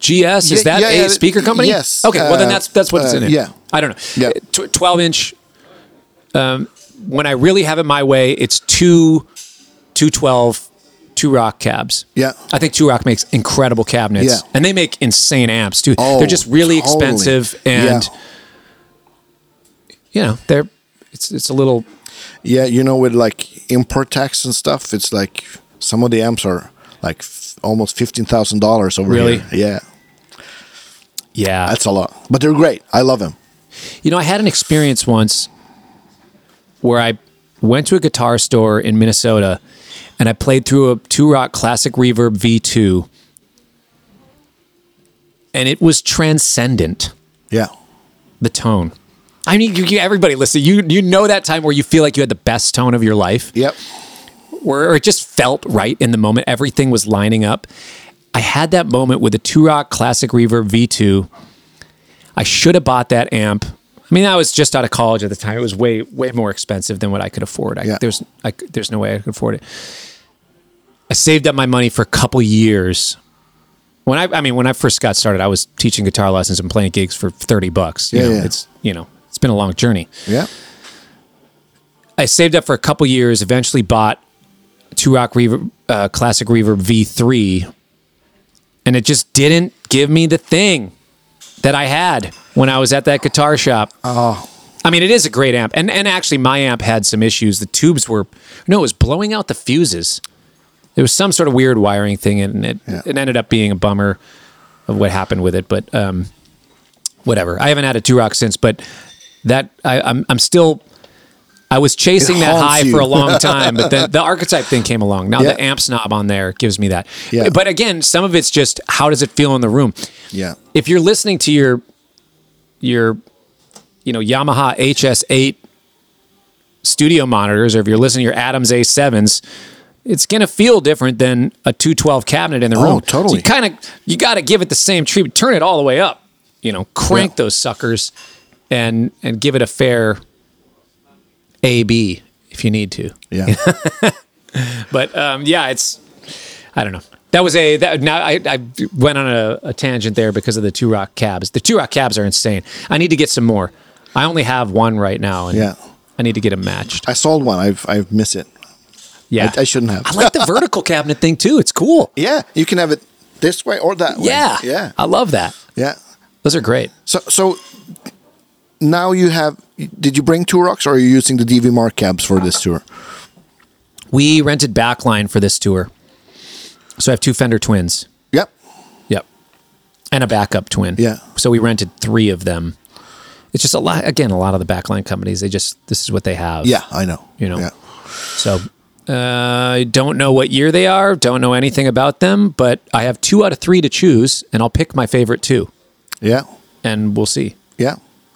Speaker 2: is
Speaker 1: Yeah,
Speaker 2: that
Speaker 1: yeah,
Speaker 2: a
Speaker 1: yeah,
Speaker 2: speaker company?
Speaker 1: yes,
Speaker 2: Okay, well then
Speaker 1: uh,
Speaker 2: that's that's what it's in
Speaker 1: uh,
Speaker 2: it.
Speaker 1: yeah.
Speaker 2: I don't know.
Speaker 1: Yeah.
Speaker 2: Tw- Twelve inch. Um, when I really have it my way, it's two, two twelve, two rock cabs.
Speaker 1: Yeah.
Speaker 2: I think Two Rock makes incredible cabinets,
Speaker 1: Yeah.
Speaker 2: and they make insane amps too.
Speaker 1: Oh,
Speaker 2: they're just really
Speaker 1: totally.
Speaker 2: expensive, and
Speaker 1: Yeah.
Speaker 2: you know they're it's it's a little
Speaker 1: Yeah, you know, with like import tax and stuff, it's like some of the amps are like f- almost fifteen thousand dollars over
Speaker 2: Really?
Speaker 1: here. Yeah,
Speaker 2: yeah
Speaker 1: that's a lot, but they're great. I love them.
Speaker 2: You know, I had an experience once where I went to a guitar store in Minnesota and I played through a Two Rock Classic Reverb V2 and it was transcendent
Speaker 1: Yeah,
Speaker 2: the tone. I mean, you, you- everybody listen, you you know that time where you feel like you had the best tone of your life
Speaker 1: yep.
Speaker 2: where it just felt right in the moment. Everything was lining up. I had that moment with a Two Rock Classic Reverb V2, I should have bought that amp. I mean, I was just out of college at the time. It was way way more expensive than what I could afford. I,
Speaker 1: Yeah.
Speaker 2: There's I, c- there's no way I could afford it. I saved up my money for a couple years. When I I mean when I first got started, I was teaching guitar lessons and playing gigs for thirty bucks. You
Speaker 1: Yeah,
Speaker 2: know,
Speaker 1: yeah.
Speaker 2: It's you know it's been a long journey.
Speaker 1: Yeah.
Speaker 2: I saved up for a couple years. Eventually bought Two Rock Reverb, uh, Classic Reverb V3, and it just didn't give me the thing that I had when I was at that guitar shop. Oh, I mean, it is a great amp, and and actually, my amp had some issues. The tubes were no, it was blowing out the fuses. There was some sort of weird wiring thing, and it
Speaker 1: Yeah.
Speaker 2: it ended up being a bummer of what happened with it. But um, whatever. I haven't had a two rock since, but that I, I'm I'm still. I was chasing
Speaker 1: It
Speaker 2: that
Speaker 1: haunts
Speaker 2: high
Speaker 1: you.
Speaker 2: for a long time, but then the archetype thing came along. Now
Speaker 1: Yeah.
Speaker 2: the amp snob on there gives me that.
Speaker 1: Yeah.
Speaker 2: But again, some of it's just how does it feel in the room?
Speaker 1: Yeah.
Speaker 2: If you're listening to your your you know Yamaha HS8 studio monitors, or if you're listening to your Adams A7s, it's gonna feel different than a 212 cabinet in the room. So
Speaker 1: Oh, totally.
Speaker 2: you kind of you got to give it the same treatment. Turn it all the way up. You know, crank
Speaker 1: Yeah.
Speaker 2: those suckers, and and give it a fair A B if you need to.
Speaker 1: Yeah.
Speaker 2: But um, yeah, it's I don't know. That was a that now I, I went on a, a tangent there because of the two rock cabs. The two rock cabs are insane. I need to get some more. I only have one right now, and
Speaker 1: Yeah.
Speaker 2: I need to get them matched.
Speaker 1: I sold one. I've I've missed it.
Speaker 2: Yeah,
Speaker 1: I shouldn't have.
Speaker 2: I like the vertical cabinet thing too. It's cool.
Speaker 1: Yeah. You can have it this way or that way.
Speaker 2: Yeah,
Speaker 1: Yeah.
Speaker 2: I love that.
Speaker 1: Yeah.
Speaker 2: Those are great.
Speaker 1: So so now you have. Did you bring two rocks, or are you using the DV Mark cabs for this tour?
Speaker 2: We rented backline for this tour. So I have two Fender twins.
Speaker 1: Yep.
Speaker 2: Yep. And a backup twin.
Speaker 1: Yeah.
Speaker 2: So we rented three of them. It's just a lot again, a lot of the backline companies, they just this is what they have.
Speaker 1: Yeah, I know.
Speaker 2: You know.
Speaker 1: Yeah.
Speaker 2: So uh, I don't know what year they are, don't know anything about them, but I have two out of three to choose, and I'll pick my favorite two,
Speaker 1: Yeah.
Speaker 2: and we'll see.
Speaker 1: Yeah.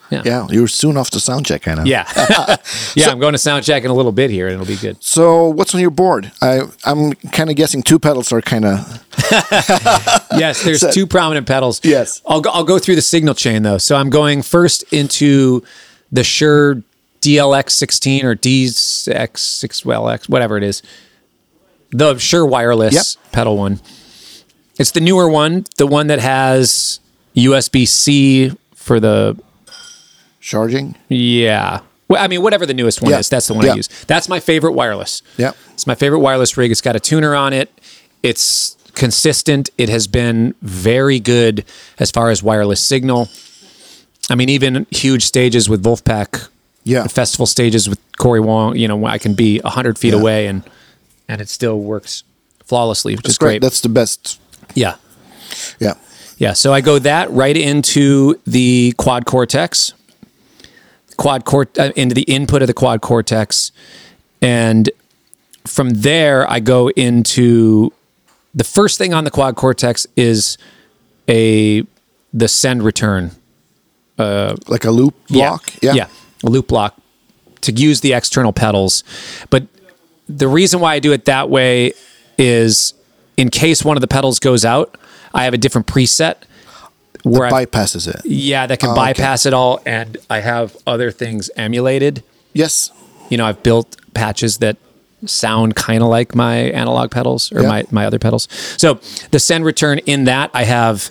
Speaker 2: Yeah.
Speaker 1: Yeah. You're soon off the sound check, I know.
Speaker 2: Yeah. yeah, I'm going to sound check in a little bit here, and it'll be good.
Speaker 1: So what's on your board? I I'm kind of guessing two pedals are kind of
Speaker 2: yes, there's two prominent pedals.
Speaker 1: Yes.
Speaker 2: I'll go, I'll go through the signal chain though. So I'm going first into the Shure DLX16 or DX6 well X whatever it is. The Shure wireless pedal one. It's the newer one, the one that has USB-C for the
Speaker 1: charging.
Speaker 2: yeah. Well, I mean, whatever the newest one
Speaker 1: Yeah.
Speaker 2: is, that's the one
Speaker 1: Yeah.
Speaker 2: I use. That's my favorite wireless.
Speaker 1: Yeah.
Speaker 2: It's my favorite wireless rig. It's got a tuner on it. It's consistent. It has been very good as far as wireless signal. I mean, even huge stages with Wolfpack,
Speaker 1: Yeah.
Speaker 2: festival stages with Corey Wong, you know, I can be 100 feet
Speaker 1: Yeah.
Speaker 2: away and and it still works flawlessly, which is
Speaker 1: That's
Speaker 2: great.
Speaker 1: That's the best.
Speaker 2: yeah.
Speaker 1: Yeah.
Speaker 2: Yeah, so I go that right into the quad cortex, quad cort uh, into the input of the quad cortex, and from there I go into the first thing on the quad cortex is a the send return
Speaker 1: Like a loop block. Yeah.
Speaker 2: yeah, a loop block to use the external pedals. But the reason why I do it that way is in case one of the pedals goes out, I have a different preset where I
Speaker 1: Bypasses it.
Speaker 2: yeah, that can
Speaker 1: Oh, okay.
Speaker 2: bypass it all, and I have other things emulated.
Speaker 1: Yes.
Speaker 2: You know, I've built patches that sound kind of like my analog pedals or
Speaker 1: Yeah.
Speaker 2: my, my other pedals. So the send return in that I have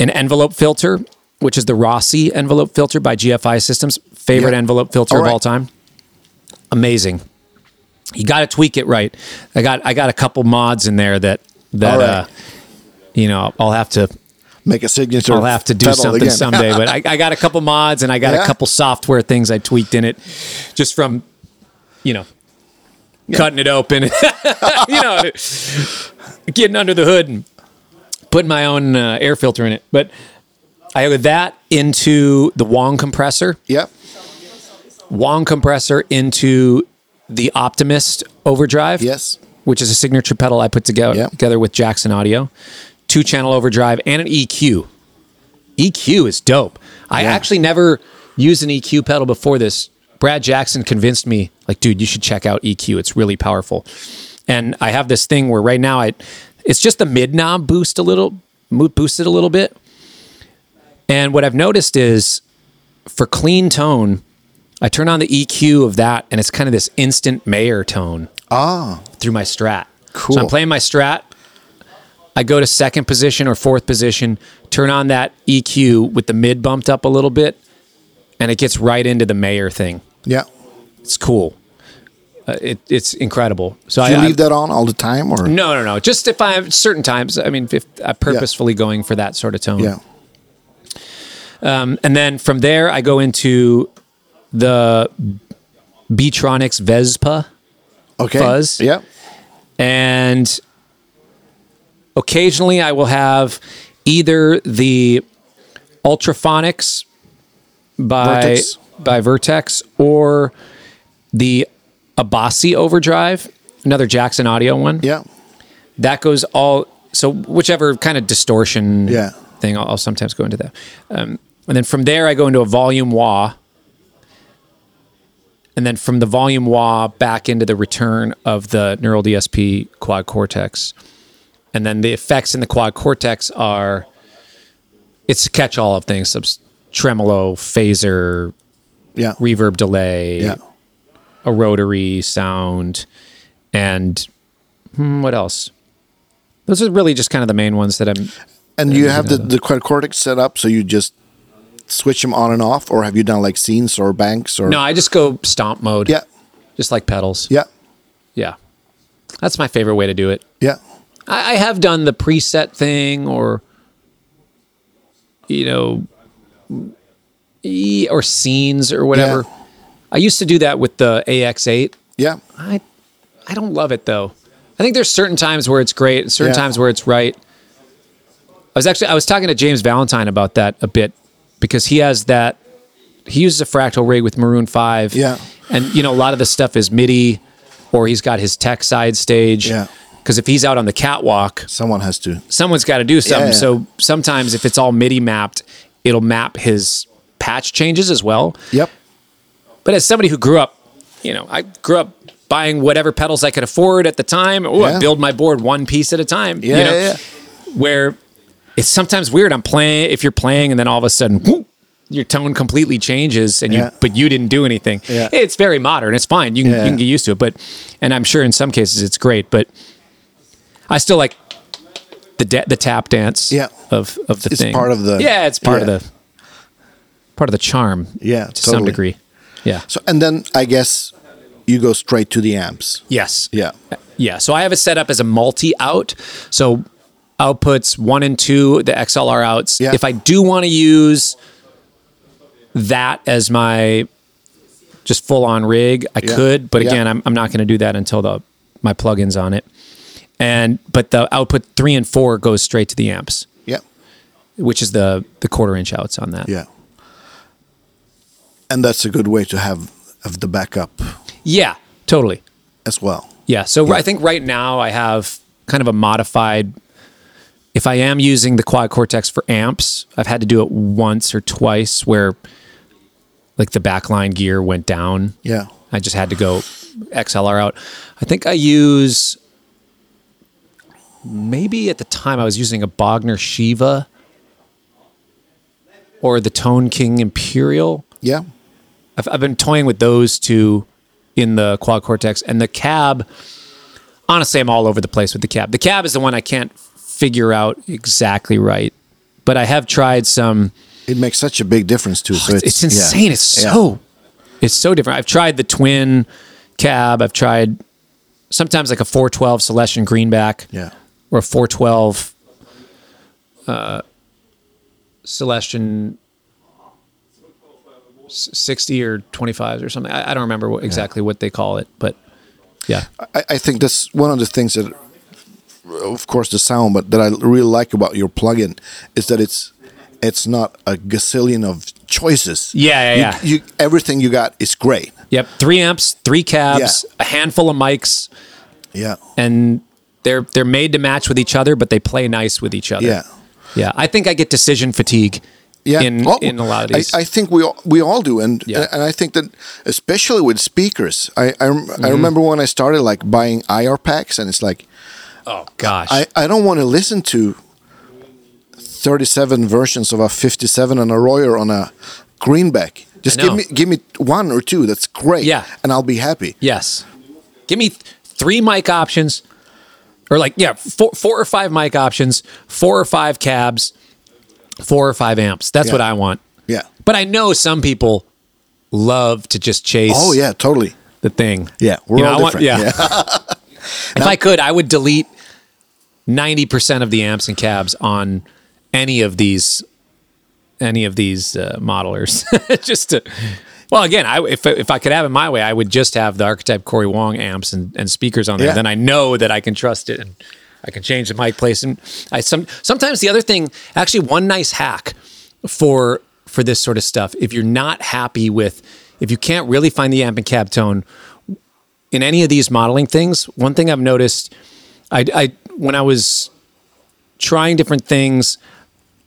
Speaker 2: an envelope filter, which is the Rossi envelope filter by GFI Systems, favorite
Speaker 1: Yeah.
Speaker 2: envelope filter
Speaker 1: All
Speaker 2: of
Speaker 1: right.
Speaker 2: all time. Amazing. You got to tweak it right. I got I got a couple mods in there that that
Speaker 1: All right.
Speaker 2: uh, you know I'll have to
Speaker 1: Make a signature.
Speaker 2: I'll have to do
Speaker 1: pedal
Speaker 2: something
Speaker 1: again.
Speaker 2: someday. But I, I got a couple mods and I got
Speaker 1: Yeah?
Speaker 2: a couple software things I tweaked in it, just from, you know, cutting it open, you know, getting under the hood and putting my own uh, air filter in it. But I added that into the Wong compressor,
Speaker 1: Yep.
Speaker 2: Wong compressor into the Optimist overdrive
Speaker 1: Yes.
Speaker 2: which is a signature pedal I put together
Speaker 1: Yep.
Speaker 2: together with Jackson Audio, two channel overdrive and an E EQ. EQ is dope. I
Speaker 1: Yeah.
Speaker 2: actually never used an EQ pedal before this. Brad Jackson convinced me, like, dude, you should check out EQ. It's really powerful. And I have this thing where right now I, it's just the mid knob boost a little, mo- boosted a little bit, And what I've noticed is for clean tone, I turn on the EQ of that and it's kind of this instant Mayer tone
Speaker 1: Ah,
Speaker 2: through my strat.
Speaker 1: Cool.
Speaker 2: So I'm playing my strat. I go to second position or fourth position, turn on that EQ with the mid bumped up a little bit, and it gets right into the Mayer thing.
Speaker 1: yeah.
Speaker 2: It's cool. Uh, it, it's incredible. So
Speaker 1: Do you
Speaker 2: I,
Speaker 1: leave that on all the time, or
Speaker 2: no, no, no. Just if I have certain times, I mean, if I purposefully going for that sort of tone.
Speaker 1: yeah,
Speaker 2: Um, and then from there, I go into the Beatronics Vespa.
Speaker 1: okay,
Speaker 2: Fuzz?
Speaker 1: yeah,
Speaker 2: And occasionally I will have either the Ultraphonics by
Speaker 1: Vertex.
Speaker 2: by Vertex or the Abassi Overdrive, another Jackson Audio one.
Speaker 1: yeah,
Speaker 2: That goes all so whichever kind of distortion
Speaker 1: Yeah.
Speaker 2: thing I'll, I'll sometimes go into that. Um, and then from there I go into a volume wah. And then from the volume wah back into the return of the neural DSP quad cortex. And then the effects in the quad cortex are it's a catch all of things, subs- tremolo, phaser,
Speaker 1: yeah,
Speaker 2: reverb delay,
Speaker 1: yeah.
Speaker 2: a rotary sound, and hmm, what else? Those are really just kind of the main ones that I'm.
Speaker 1: And you have the the quad cortex set up, so you just switch them on and off, or have you done like scenes or banks or
Speaker 2: No, I just go stomp mode.
Speaker 1: yeah,
Speaker 2: Just like pedals.
Speaker 1: yeah,
Speaker 2: Yeah. That's my favorite way to do it.
Speaker 1: yeah,
Speaker 2: I, I have done the preset thing or, you know, e- or scenes or whatever.
Speaker 1: Yeah.
Speaker 2: I used to do that with the AX8.
Speaker 1: yeah,
Speaker 2: I I don't love it though. I think there's certain times where it's great and certain
Speaker 1: Yeah.
Speaker 2: times where it's right. I was actually I was talking to James Valentine about that a bit because he has that he uses a fractal rig with Maroon 5.
Speaker 1: Yeah.
Speaker 2: And you know a lot of the stuff is MIDI or he's got his tech side stage.
Speaker 1: Yeah.
Speaker 2: Cuz if he's out on the catwalk,
Speaker 1: Someone has to.
Speaker 2: someone's got to do something.
Speaker 1: Yeah.
Speaker 2: So sometimes if it's all MIDI mapped, it'll map his patch changes as well.
Speaker 1: Yep.
Speaker 2: But as somebody who grew up, you know, I grew up buying whatever pedals I could afford at the time. Oh,
Speaker 1: Yeah.
Speaker 2: I build my board one piece at a time.
Speaker 1: Yeah,
Speaker 2: you know,
Speaker 1: yeah, yeah.
Speaker 2: Where it's sometimes weird. I'm playing if you're playing, and then all of a sudden, whoop, your tone completely changes, and you
Speaker 1: Yeah.
Speaker 2: but you didn't do anything.
Speaker 1: Yeah.
Speaker 2: It's very modern. It's fine. You can,
Speaker 1: Yeah.
Speaker 2: you can get used to it. But and I'm sure in some cases it's great. But I still like the da- the tap dance.
Speaker 1: Yeah.
Speaker 2: Of of the
Speaker 1: It's
Speaker 2: thing.
Speaker 1: part of the-
Speaker 2: yeah. It's part
Speaker 1: yeah.
Speaker 2: of the part of the charm.
Speaker 1: Yeah,
Speaker 2: To some
Speaker 1: totally.
Speaker 2: degree. Yeah.
Speaker 1: So and then I guess you go straight to the amps.
Speaker 2: Yes.
Speaker 1: Yeah.
Speaker 2: Yeah. So I have it set up as a multi out. So outputs one and two, the XLR outs.
Speaker 1: Yeah.
Speaker 2: If I do want to use that as my just full on rig, I
Speaker 1: Yeah.
Speaker 2: could. But
Speaker 1: Yeah.
Speaker 2: again, I'm, I'm not going to do that until the my plugins on it. And but the output three and four goes straight to the amps,
Speaker 1: Yeah.
Speaker 2: which is the the quarter inch outs on that.
Speaker 1: Yeah. And that's a good way to have of the backup
Speaker 2: Yeah. Totally.
Speaker 1: as well.
Speaker 2: Yeah. So I think right now I have kind of a modified. If I am using the quad cortex for amps, I've had to do it once or twice where like the backline gear went down.
Speaker 1: Yeah.
Speaker 2: I just had to go XLR out. I think I use maybe at the time I was using a Bogner Shiva or the Tone King Imperial.
Speaker 1: Yeah.
Speaker 2: I've, I've been toying with those two in the quad cortex and the cab. Honestly, I'm all over the place with the cab. The cab is the one I can't figure out exactly right, but I have tried some.
Speaker 1: It makes such a big difference too. so
Speaker 2: It's, Oh, it's insane. It's so it's so different. I've tried the twin cab. I've tried sometimes like a 412 Celestion Greenback
Speaker 1: Yeah.
Speaker 2: or a 412 uh, Celestion s- 60 or 25s or something. I, I don't remember what, exactly what they call it, but yeah.
Speaker 1: I, I think that's one of the things that, of course, the sound, but that I really like about your plugin is that it's it's not a gazillion of choices.
Speaker 2: Yeah, yeah,
Speaker 1: You, you, everything you got is great.
Speaker 2: Yep. Three amps, three cabs,
Speaker 1: Yeah.
Speaker 2: a handful of mics,
Speaker 1: Yeah.
Speaker 2: and they're they're made to match with each other, but they play nice with each other.
Speaker 1: Yeah.
Speaker 2: Yeah. I think I get decision fatigue in,
Speaker 1: Oh,
Speaker 2: in a lot of
Speaker 1: I-
Speaker 2: these.
Speaker 1: I, think we all, we all do, and
Speaker 2: Yeah.
Speaker 1: and I think that especially with speakers, I I, rem-
Speaker 2: Mm-hmm.
Speaker 1: I remember when I started like buying IR packs, and it's like
Speaker 2: oh, gosh.
Speaker 1: I, I don't want to listen to 37 versions of a 57 and a Royer on a greenback. Just
Speaker 2: I
Speaker 1: give
Speaker 2: know.
Speaker 1: me give me one or two. That's great.
Speaker 2: Yeah.
Speaker 1: and I'll be happy.
Speaker 2: Yes. Give me th- three mic options, or like yeah, four, four or five mic options, four or five cabs, four or five amps. That's
Speaker 1: Yeah.
Speaker 2: what I want.
Speaker 1: Yeah.
Speaker 2: But I know some people love to just chase.
Speaker 1: Oh yeah, totally.
Speaker 2: the thing.
Speaker 1: Yeah, we're
Speaker 2: You know,
Speaker 1: all
Speaker 2: I want-
Speaker 1: different.
Speaker 2: yeah. If I could, I would delete ninety percent of the amps and cabs on any of these any of these uh, modelers. just to, well, again, I, if if I could have it my way, I would just have the archetype Corey Wong amps and, and speakers on there.
Speaker 1: Yeah.
Speaker 2: Then I know that I can trust it and I can change the mic place. And I some sometimes the other thing, actually, one nice hack for for this sort of stuff. If you're not happy with, if you can't really find the amp and cab tone, in any of these modeling things, one thing I've noticed, I, I when I was trying different things,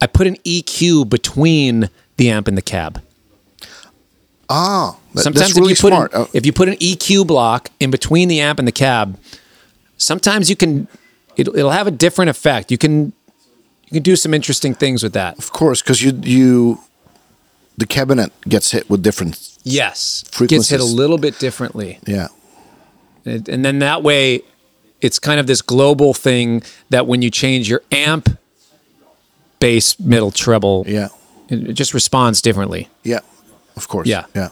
Speaker 2: I put an EQ between the amp and the cab.
Speaker 1: Ah, that-
Speaker 2: Sometimes
Speaker 1: that's really
Speaker 2: if you put
Speaker 1: smart.
Speaker 2: An,
Speaker 1: Uh,
Speaker 2: if you put an EQ block in between the amp and the cab, sometimes you can it'll, it'll have a different effect. You can you can do some interesting things with that.
Speaker 1: of course, because you you the cabinet gets hit with different.
Speaker 2: Yes, gets hit a
Speaker 1: Frequencies.
Speaker 2: little bit differently.
Speaker 1: Yeah,
Speaker 2: And and then that way, it's kind of this global thing that when you change your amp, bass, middle, treble,
Speaker 1: yeah,
Speaker 2: it it just responds differently.
Speaker 1: yeah. Of course.
Speaker 2: Yeah.
Speaker 1: yeah.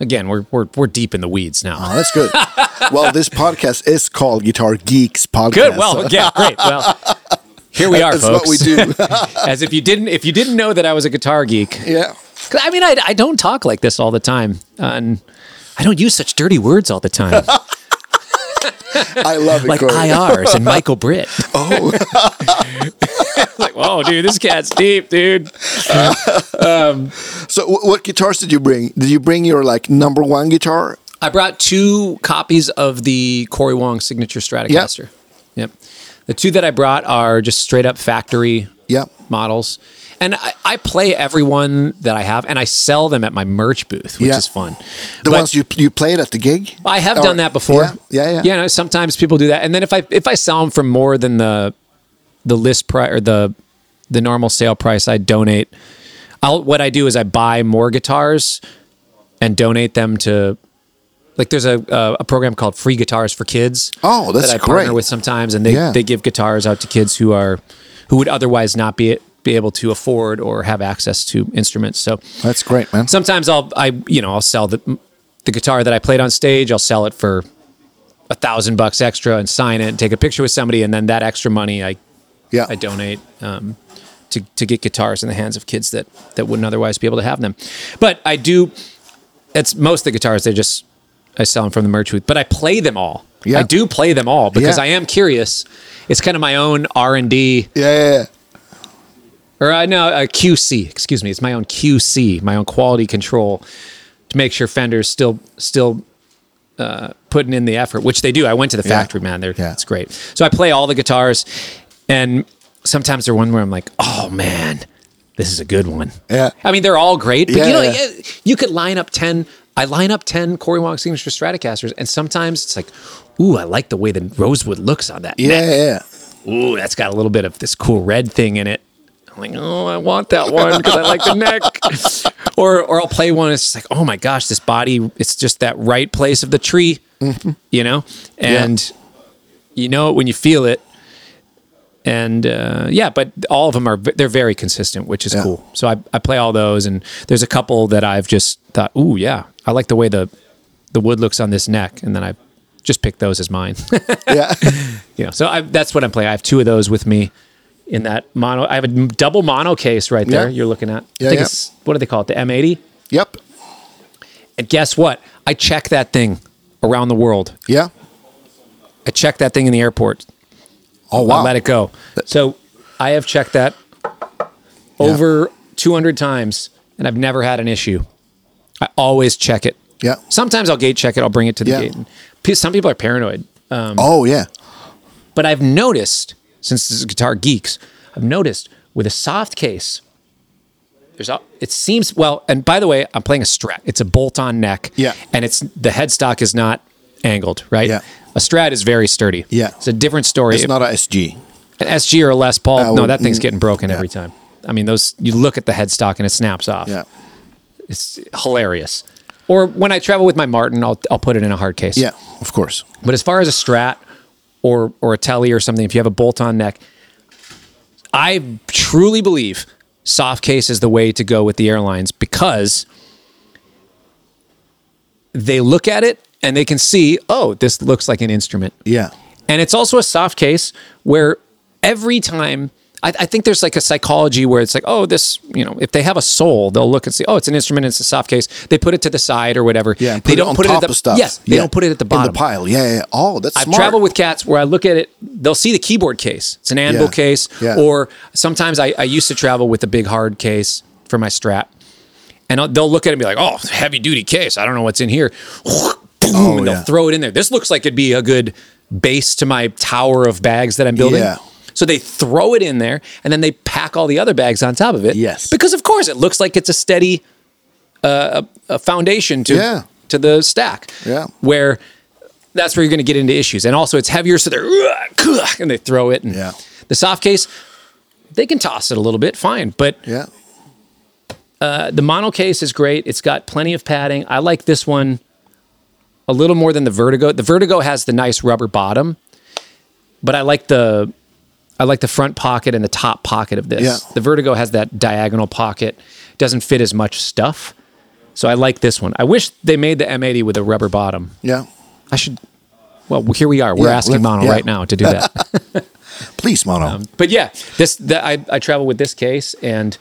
Speaker 2: Again, we're we're, we're deep in the weeds now.
Speaker 1: Oh, that's good. well, this podcast is called Guitar Geeks Podcast.
Speaker 2: Good. Well, yeah, great. Well, here we are,
Speaker 1: that's what
Speaker 2: folks.
Speaker 1: we do.
Speaker 2: As if you didn't if you didn't know that I was a guitar geek.
Speaker 1: yeah.
Speaker 2: 'Cause, I mean, I, I don't talk like this all the time, and I don't use such dirty words all the time,
Speaker 1: I love it.
Speaker 2: like
Speaker 1: Corey.
Speaker 2: IRs and Michael Britt.
Speaker 1: Oh,
Speaker 2: like, whoa, dude, this cat's deep, dude.
Speaker 1: so wh- what guitars did you bring? Did you bring your like number one guitar?
Speaker 2: I brought two copies of the Corey Wong signature Stratocaster. Yep. The two that I brought are just straight up factory
Speaker 1: Yeah.
Speaker 2: models. And I, I play every one that I have and I sell them at my merch booth, which
Speaker 1: Yeah.
Speaker 2: is fun.
Speaker 1: The
Speaker 2: But
Speaker 1: ones you you played at the gig?
Speaker 2: I have
Speaker 1: Or-
Speaker 2: done that before.
Speaker 1: Yeah, yeah, yeah.
Speaker 2: no, sometimes people do that. And then if I if I sell them for more than the the list price or the the normal sale price, I donate. I'll what I do is I buy more guitars and donate them to like there's a a, a program called Free Guitars for Kids.
Speaker 1: Oh, that's
Speaker 2: that I
Speaker 1: great.
Speaker 2: partner with sometimes, and they
Speaker 1: Yeah.
Speaker 2: they give guitars out to kids who are who would otherwise not be be able to afford or have access to instruments. So
Speaker 1: That's great, man.
Speaker 2: sometimes I'll I you know I'll sell the the guitar that I played on stage. I'll sell it for a thousand bucks extra and sign it and take a picture with somebody, and then that extra money I
Speaker 1: yeah.
Speaker 2: I donate um, to to get guitars in the hands of kids that that wouldn't otherwise be able to have them. But I do. That's most of the guitars. They just I sell them from the merch booth, but I play them all.
Speaker 1: Yeah.
Speaker 2: I do play them all because
Speaker 1: Yeah.
Speaker 2: I am curious. It's kind of my own R and D,
Speaker 1: Yeah, yeah, yeah.
Speaker 2: or uh, no, uh, QC. Excuse me. It's my own QC, my own quality control, to make sure Fender's still still uh, putting in the effort, which they do. I went to the
Speaker 1: Yeah.
Speaker 2: factory, man. They're
Speaker 1: Yeah.
Speaker 2: it's great. So I play all the guitars, and sometimes they're one where I'm like, oh man, this is a good one.
Speaker 1: Yeah.
Speaker 2: I mean, they're all great, but
Speaker 1: Yeah,
Speaker 2: you know,
Speaker 1: yeah.
Speaker 2: yeah, you could line up ten. I line up ten Corey Wong signature Stratocasters, and sometimes it's like, ooh, I like the way the rosewood looks on that.
Speaker 1: Yeah, yeah, yeah.
Speaker 2: ooh, that's got a little bit of this cool red thing in it. I'm like, oh, I want that one because I like the neck. or or I'll play one. It's just like, oh my gosh, this body. It's just that right place of the tree, you know. And you know it when you feel it. And uh, yeah, but all of them are they're very consistent, which is
Speaker 1: Yeah.
Speaker 2: cool. So I, I play all those, and there's a couple that I've just thought, ooh, yeah, I like the way the the wood looks on this neck, and then I just picked those as mine.
Speaker 1: Yeah.
Speaker 2: you know, so I, that's what I'm playing. I have two of those with me in that mono. I have a m- double mono case right there.
Speaker 1: Yeah.
Speaker 2: You're looking at.
Speaker 1: Yeah,
Speaker 2: I think
Speaker 1: yeah.
Speaker 2: it's what do they call it? The M80.
Speaker 1: yep.
Speaker 2: And guess what? I check that thing around the world.
Speaker 1: Yeah.
Speaker 2: I check that thing in the airport.
Speaker 1: Oh
Speaker 2: I
Speaker 1: wow.
Speaker 2: let it go. So I have checked that over 200 times, and I've never had an issue. I always check it.
Speaker 1: Yeah.
Speaker 2: Sometimes I'll gate check it. I'll bring it to the
Speaker 1: Yeah.
Speaker 2: gate. P- Some people are paranoid.
Speaker 1: oh yeah.
Speaker 2: But I've noticed, since this is Guitar Geeks, I've noticed with a soft case, there's a, it seems well. And by the way, I'm playing a Strat. It's a bolt-on neck.
Speaker 1: Yeah.
Speaker 2: And it's the headstock is not angled, right?
Speaker 1: Yeah.
Speaker 2: A Strat is very sturdy.
Speaker 1: Yeah.
Speaker 2: It's a different story.
Speaker 1: It's not a SG.
Speaker 2: An SG or a Les Paul,
Speaker 1: Uh,
Speaker 2: no,
Speaker 1: well,
Speaker 2: that thing's
Speaker 1: mm,
Speaker 2: getting broken
Speaker 1: yeah.
Speaker 2: every time. I mean, those you look at the headstock and it snaps off.
Speaker 1: Yeah.
Speaker 2: It's hilarious. Or when I travel with my Martin, I'll I'll put it in a hard case.
Speaker 1: Yeah, of course.
Speaker 2: But as far as a Strat or or a Telly or something, if you have a bolt-on neck, I truly believe soft case is the way to go with the airlines because they look at it and they can see, oh, this looks like an instrument.
Speaker 1: Yeah.
Speaker 2: And it's also a soft case where every time I, I think there's like a psychology where it's like, oh, this, you know, if they have a soul, they'll look and see, oh, it's an instrument, it's a soft case. They put it to the side or whatever.
Speaker 1: Yeah. and
Speaker 2: they
Speaker 1: put it on top
Speaker 2: at the
Speaker 1: of stuff.
Speaker 2: Yes, they
Speaker 1: Yeah.
Speaker 2: don't put it at the bottom.
Speaker 1: In the pile. Yeah, yeah. yeah. Oh, that's
Speaker 2: I've
Speaker 1: smart.
Speaker 2: traveled with cats where I look at it, they'll see the keyboard case. It's an anvil
Speaker 1: Yeah.
Speaker 2: case.
Speaker 1: Yeah.
Speaker 2: Or sometimes I, I used to travel with a big hard case for my strap. And I'll- they'll look at it and be like, oh, heavy duty case. I don't know what's in here. Boom, and they'll
Speaker 1: Oh, yeah.
Speaker 2: throw it in there. This looks like it'd be a good base to my tower of bags that I'm building.
Speaker 1: Yeah.
Speaker 2: So they throw it in there and then they pack all the other bags on top of it.
Speaker 1: Yes.
Speaker 2: Because, of course, it looks like it's a steady uh, a, a foundation to,
Speaker 1: Yeah.
Speaker 2: to the stack.
Speaker 1: Yeah.
Speaker 2: Where that's where you're going to get into issues. And also, it's heavier, so they're and they throw it. And
Speaker 1: Yeah.
Speaker 2: the soft case, they can toss it a little bit, fine. But
Speaker 1: Yeah.
Speaker 2: uh, the mono case is great. It's got plenty of padding. I like this one a little more than the Vertigo. The Vertigo has the nice rubber bottom, but I like the I like the front pocket and the top pocket of this.
Speaker 1: Yeah.
Speaker 2: The Vertigo has that diagonal pocket. Doesn't fit as much stuff. So I like this one. I wish they made the M80 with a rubber bottom.
Speaker 1: Yeah.
Speaker 2: I should. Well, here we are. We're
Speaker 1: Yeah,
Speaker 2: asking
Speaker 1: let's-
Speaker 2: Mono
Speaker 1: yeah.
Speaker 2: right now to do that.
Speaker 1: Please, Mono.
Speaker 2: but yeah, this that I, I travel with this case, and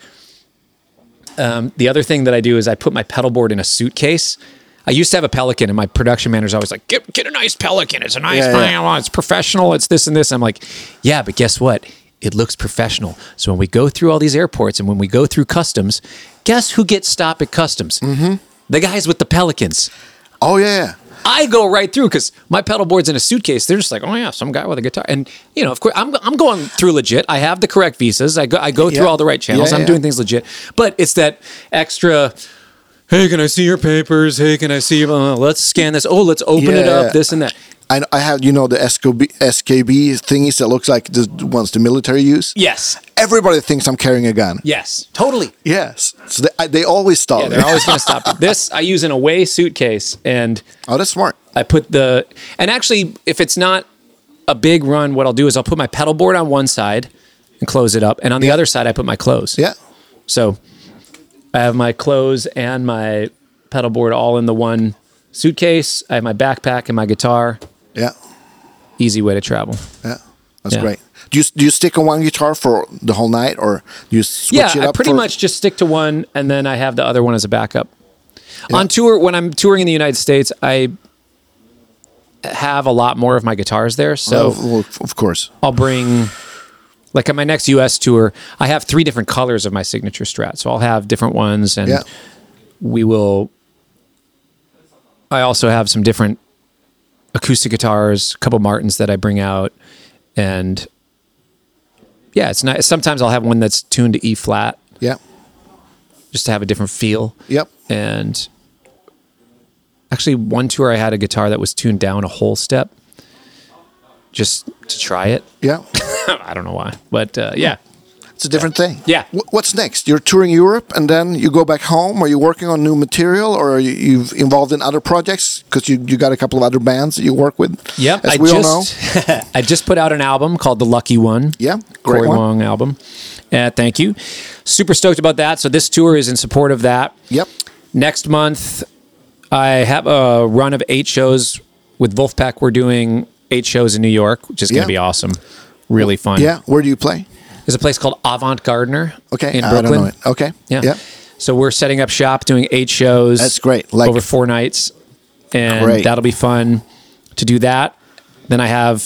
Speaker 2: um, the other thing that I do is I put my pedal board in a suitcase. I used to have a Pelican, and my production manager's always like, "Get get a nice Pelican. It's a nice,
Speaker 1: Yeah, yeah.
Speaker 2: thing. it's professional. It's this and this." I'm like, "Yeah, but guess what? It looks professional. So when we go through all these airports and when we go through customs, guess who gets stopped at customs? Mm-hmm. The guys with the Pelicans."
Speaker 1: oh, yeah.
Speaker 2: I go right through because my pedal board's in a suitcase. They're just like, oh yeah, some guy with a guitar, and you know, of course, I'm I'm going through legit. I have the correct visas. I go I go through
Speaker 1: Yeah.
Speaker 2: all the right channels.
Speaker 1: Yeah,
Speaker 2: I'm
Speaker 1: yeah.
Speaker 2: doing things legit, but it's that extra. Hey, can I see your papers? Hey, can I see your? Uh, let's scan this. Oh, let's open it
Speaker 1: Yeah.
Speaker 2: up. This and that.
Speaker 1: I, I have, you know, the SKB, SKB thingies that looks like the ones the military use.
Speaker 2: Yes,
Speaker 1: Everybody thinks I'm carrying a gun.
Speaker 2: yes, totally.
Speaker 1: Yes. So they, I, they always stop.
Speaker 2: Yeah,
Speaker 1: me.
Speaker 2: they're always going to stop. you. This I use in a way suitcase, and
Speaker 1: oh, that's smart.
Speaker 2: I put the and actually if it's not a big run, what I'll do is I'll put my pedal board on one side and close it up, and on the other side I put my clothes.
Speaker 1: Yeah.
Speaker 2: So I have my clothes and my pedal board all in the one suitcase. I have my backpack and my guitar.
Speaker 1: Yeah.
Speaker 2: Easy way to travel.
Speaker 1: Yeah. That's
Speaker 2: Yeah.
Speaker 1: great. Do you, do you stick on one guitar for the whole night or do you switch it
Speaker 2: yeah,
Speaker 1: up?
Speaker 2: I pretty
Speaker 1: for-
Speaker 2: much just stick to one, and then I have the other one as a backup. On tour, when I'm touring in the United States, I have a lot more of my guitars there. So
Speaker 1: Of, of- of course.
Speaker 2: I'll bring like on my next US tour, I have three different colors of my signature strat. So I'll have different ones and
Speaker 1: Yeah.
Speaker 2: we will I also have some different acoustic guitars, a couple Martins that I bring out and yeah, it's nice. Sometimes I'll have one that's tuned to E flat
Speaker 1: Yeah.
Speaker 2: just to have a different feel.
Speaker 1: Yep.
Speaker 2: And actually one tour I had a guitar that was tuned down a whole step just to try it.
Speaker 1: Yeah.
Speaker 2: I don't know why, but uh, yeah,
Speaker 1: It's a different thing.
Speaker 2: Yeah.
Speaker 1: Wh- what's next? You're touring Europe and then you go back home. Are you working on new material or are you, you've involved in other projects? Because you, you got a couple of other bands that you work with.
Speaker 2: yep.
Speaker 1: As
Speaker 2: I
Speaker 1: we
Speaker 2: just
Speaker 1: all know.
Speaker 2: I just put out an album called The Lucky One.
Speaker 1: Yeah, great
Speaker 2: Corey
Speaker 1: one.
Speaker 2: Wong album. Uh, thank you. Super stoked about that. So this tour is in support of that.
Speaker 1: Yep.
Speaker 2: Next month, I have a run of eight shows with Wolfpack. We're doing eight shows in New York, which is going
Speaker 1: Yeah.
Speaker 2: to be awesome. Really fun.
Speaker 1: Yeah. Where do you play?
Speaker 2: There's a place called Avant Gardener.
Speaker 1: Okay.
Speaker 2: In
Speaker 1: I
Speaker 2: Brooklyn.
Speaker 1: don't know it. Okay.
Speaker 2: Yeah.
Speaker 1: Yeah.
Speaker 2: So we're setting up shop, doing eight shows.
Speaker 1: That's great. Like-
Speaker 2: over four nights, and
Speaker 1: Great.
Speaker 2: that'll be fun to do that. Then I have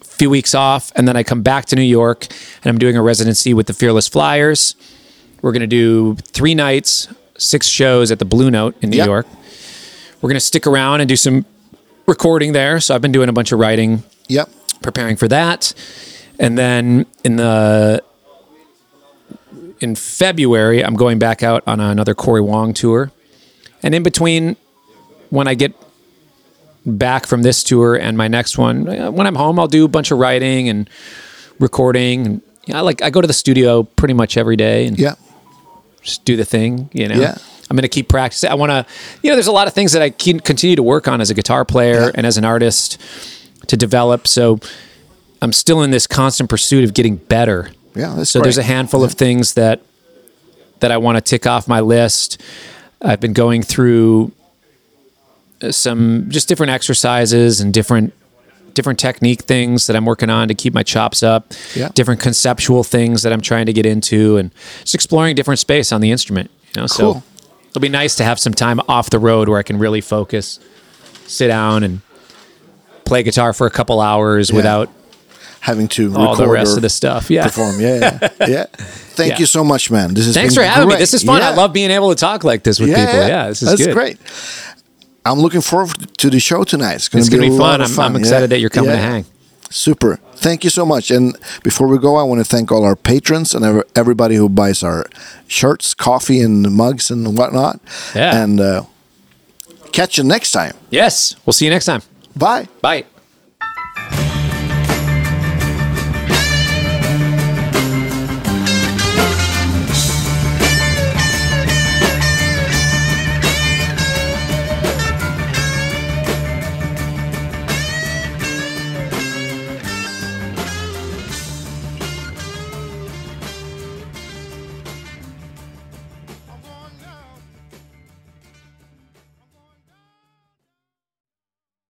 Speaker 2: a few weeks off, and then I come back to New York, and I'm doing a residency with the Fearless Flyers. We're gonna do three nights, six shows at the Blue Note in New
Speaker 1: Yep.
Speaker 2: York. We're gonna stick around and do some recording there. So I've been doing a bunch of writing
Speaker 1: Yep.
Speaker 2: preparing for that. And then in the in February, I'm going back out on another Corey Wong tour. And in between, when I get back from this tour and my next one, uh, when I'm home, I'll do a bunch of writing and recording. And, you know, I like I go to the studio pretty much every day and
Speaker 1: Yeah.
Speaker 2: just do the thing. You know,
Speaker 1: Yeah.
Speaker 2: I'm going to keep practicing. I want to, you know, there's a lot of things that I can continue to work on as a guitar player
Speaker 1: Yeah.
Speaker 2: and as an artist to develop. So I'm still in this constant pursuit of getting better.
Speaker 1: Yeah, that's
Speaker 2: so there's a
Speaker 1: great.
Speaker 2: handful of things that that I want to tick off my list. I've been going through uh, some just different exercises and different different technique things that I'm working on to keep my chops up.
Speaker 1: Yeah.
Speaker 2: Different conceptual things that I'm trying to get into, and just exploring different space on the instrument. You know,
Speaker 1: Cool.
Speaker 2: so it'll be nice to have some time off the road where I can really focus, sit down, and play guitar for a couple hours without
Speaker 1: Having to
Speaker 2: all
Speaker 1: record
Speaker 2: the rest
Speaker 1: or
Speaker 2: of the stuff. Yeah.
Speaker 1: perform. Yeah, yeah. yeah. Thank
Speaker 2: Yeah.
Speaker 1: you so much, man. This is
Speaker 2: Thanks for having me. This is fun. I love being able to talk like this with people. Yeah, this is
Speaker 1: that's
Speaker 2: good.
Speaker 1: great. I'm looking forward to the show tonight. It's going
Speaker 2: It's
Speaker 1: to be,
Speaker 2: gonna
Speaker 1: a
Speaker 2: be
Speaker 1: lot
Speaker 2: fun.
Speaker 1: of
Speaker 2: I'm-
Speaker 1: fun.
Speaker 2: I'm excited that you're coming to hang.
Speaker 1: Super. Thank you so much. And before we go, I want to thank all our patrons and ev- everybody who buys our shirts, coffee, and mugs and whatnot.
Speaker 2: Yeah.
Speaker 1: And uh, catch you next time.
Speaker 2: Yes. We'll see you next time.
Speaker 1: Bye.
Speaker 2: Bye.